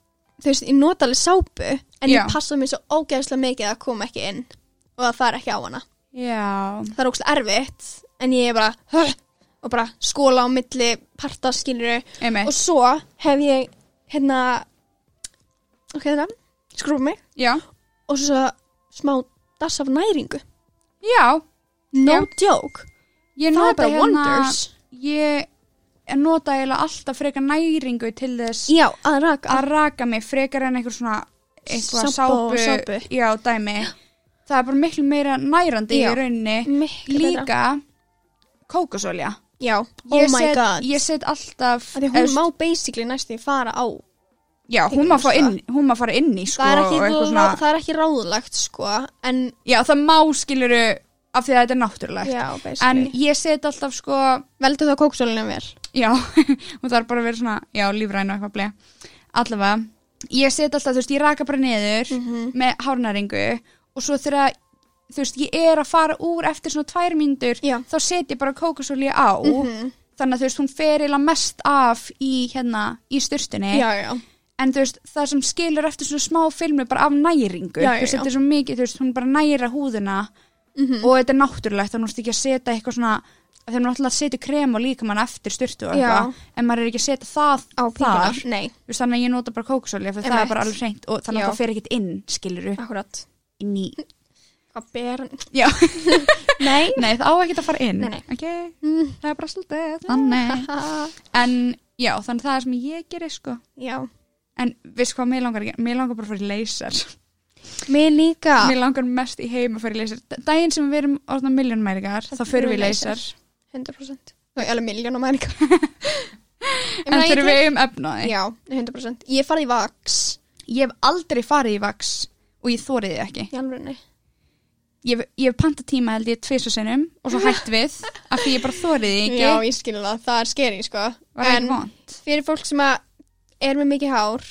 D: þú veist, ég nota alveg sápu en
A: Já.
D: ég passa mig svo ógeðslega mikið að koma ekki inn og að það er ekki á hana
A: já.
D: það er ógstlega erfitt en ég er bara "Huh," og bara skóla á milli parta skilur og
A: Einmitt.
D: svo hef ég hérna ok, þetta skrúfa mig
A: Já.
D: og svo smá dass af næringu
A: Já,
D: no
A: Já.
D: joke, það
A: ég
D: er
A: nota
D: bara
A: hérna,
D: wonders
A: ég nota eiginlega alltaf frekar næringu til þess
D: já, að raka
A: að raka mig frekar en einhver svona eitthvað
D: Sápa og
A: sápu,
D: sápu.
A: Já, dæmi það er bara miklu meira nærandi
D: Já.
A: í rauninni
D: miklu betra
A: líka kókosolja
D: já,
A: ég,
D: oh my
A: set,
D: god
A: ég set alltaf
D: Af því að hún
A: eða,
D: má basically næstu fara á
A: já, hún má, fá inn, hún má fara inn í sko,
D: það, er
A: og
D: ekki,
A: eitthvað
D: rá,
A: svona,
D: það er ekki ráðlagt sko en
A: já, það má skiluru af því að þetta er náttúrulegt
D: já,
A: en
D: basically
A: ég set alltaf sko
D: veldu það kóksólinu vel
A: já, <laughs> hún þarf bara að vera svona já, lífræn og eitthvað blei allavega, ég set alltaf, þú veist, ég raka bara niður
D: Mhm.
A: með hárnæringu og svo þegar, þú veist, ég er að fara úr eftir svona tvær mínútur
D: Já. Mhm.
A: þá set ég bara kókosóli á þannig að þú veist, hún fer eiginlega mest af í hérna, í styrstunni
D: já, já,
A: en þú veist, það sem skilur eftir svona smá filmi bara af næringu
D: Já,
A: þú veist,
D: já, Mhm. já.
A: þetta er svo mikið, þú veist, hún bara næra húðina og þetta er náttúrulegt þannig að þú ert ekki að setja eitthvað svona þegar hún alltaf setja krem og líka mann eftir styrtu og
D: Já.
A: eitthvað, en maður er ekki að setja það
D: á
A: þar,
D: píkunar Nei,
A: þú veist, þannig að ég nota bara kóksolja fyrir það
D: Einmitt.
A: er bara alveg hreint og þannig
D: Já.
A: að það fer ekkit inn, skilur
D: akkurat
A: inn í,
D: Hvað ber
A: já,
D: <laughs>
A: <laughs>
D: Nei
A: nei það á ekkit að fara inn
D: Nei, nei.
A: ok, það er bara svolítið þannig, en já, þannig það er sem ég gerir sko,
D: Já
A: en veist hvað mér langar, að gera? mér langar bara að fara í laser
D: Mér líka
A: Mér langar mest í heim að fara í leysar. Daginn sem við erum orðna miljónmæringar, þá förum við í leysar.
D: 100% Það er alveg miljónum
A: <laughs>
D: mæringa
A: En þegar við um eigum efnaði.
D: Já, 100% Ég farið í vaks
A: Ég hef aldrei farið í vaks og ég þórið þið ekki.
D: Í alveg
A: Ég hef, ég hef panta tíma held ég tvisvar sinnum og svo hætt við af því ég bara þórið þið ekki.
D: Já, ég skil það Það er skeri, sko
A: var ekki
D: En
A: vond.
D: fyrir fólk sem að er með mikið hár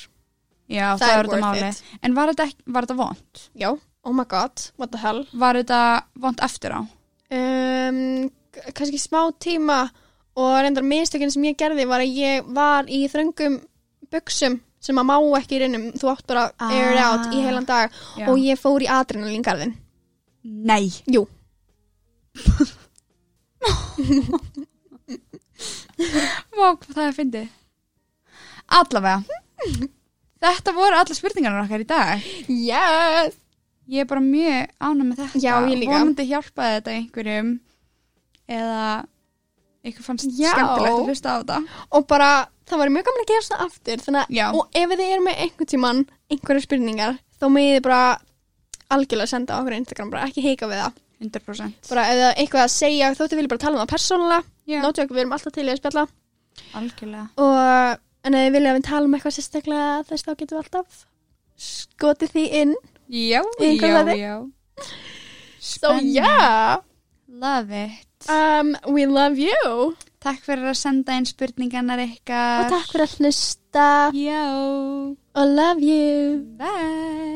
A: Já,
D: það
A: það,
D: er
A: er þetta
D: worth
A: máli.
D: it.
A: En var þetta, ekki, var þetta vond?
D: Já, oh my god, what the hell
A: Var þetta vond eftir á?
D: um, k- kannski smá tíma og reyndar mistökin sem ég gerði var að ég var í þröngum buksum sem að má ekki í rinnum þú átt bara
A: Ah.
D: að air it out í heilan dag
A: Já.
D: og ég fór í adrenalingarðin
A: Nei.
D: Jú
A: Vá, hvað það er fyndið. Allavega. Þetta voru alla spurningarnar okkar í dag.
D: yes.
A: Ég er bara mjög ánæg með þetta.
D: Já, ég líka.
A: Vonandi hjálpaði þetta einhverjum eða ykkur fannst
D: Já.
A: skemmtilegt að hlusta á þetta.
D: og bara það var mjög gaman að gera svona aftur þannig,
A: Já.
D: að- og ef þið eru með einhvern tíman einhverja spurningar þá megið þið bara algjörlega senda á okkur á Instagram bara ekki heika við það
A: 100%.
D: bara ef það er eitthvað að segja þóttu vilja bara tala um það persónulega
A: Já,
D: yeah. náttu við erum alltaf til í að spjalla
A: algjörlega.
D: og en ef við vilja að við tala um eitthvað sérstaklega þess þá getum við alltaf skotið því inn
A: Já,
D: Í
A: já,
D: hvað var þið?
A: já.
D: so
A: Spennandi.
D: yeah
A: Love it.
D: um, we love you
A: Takk fyrir að senda inn spurningarnar
D: og
A: ykkar.
D: takk fyrir að hlusta
A: Já.
D: og love you
A: Bye.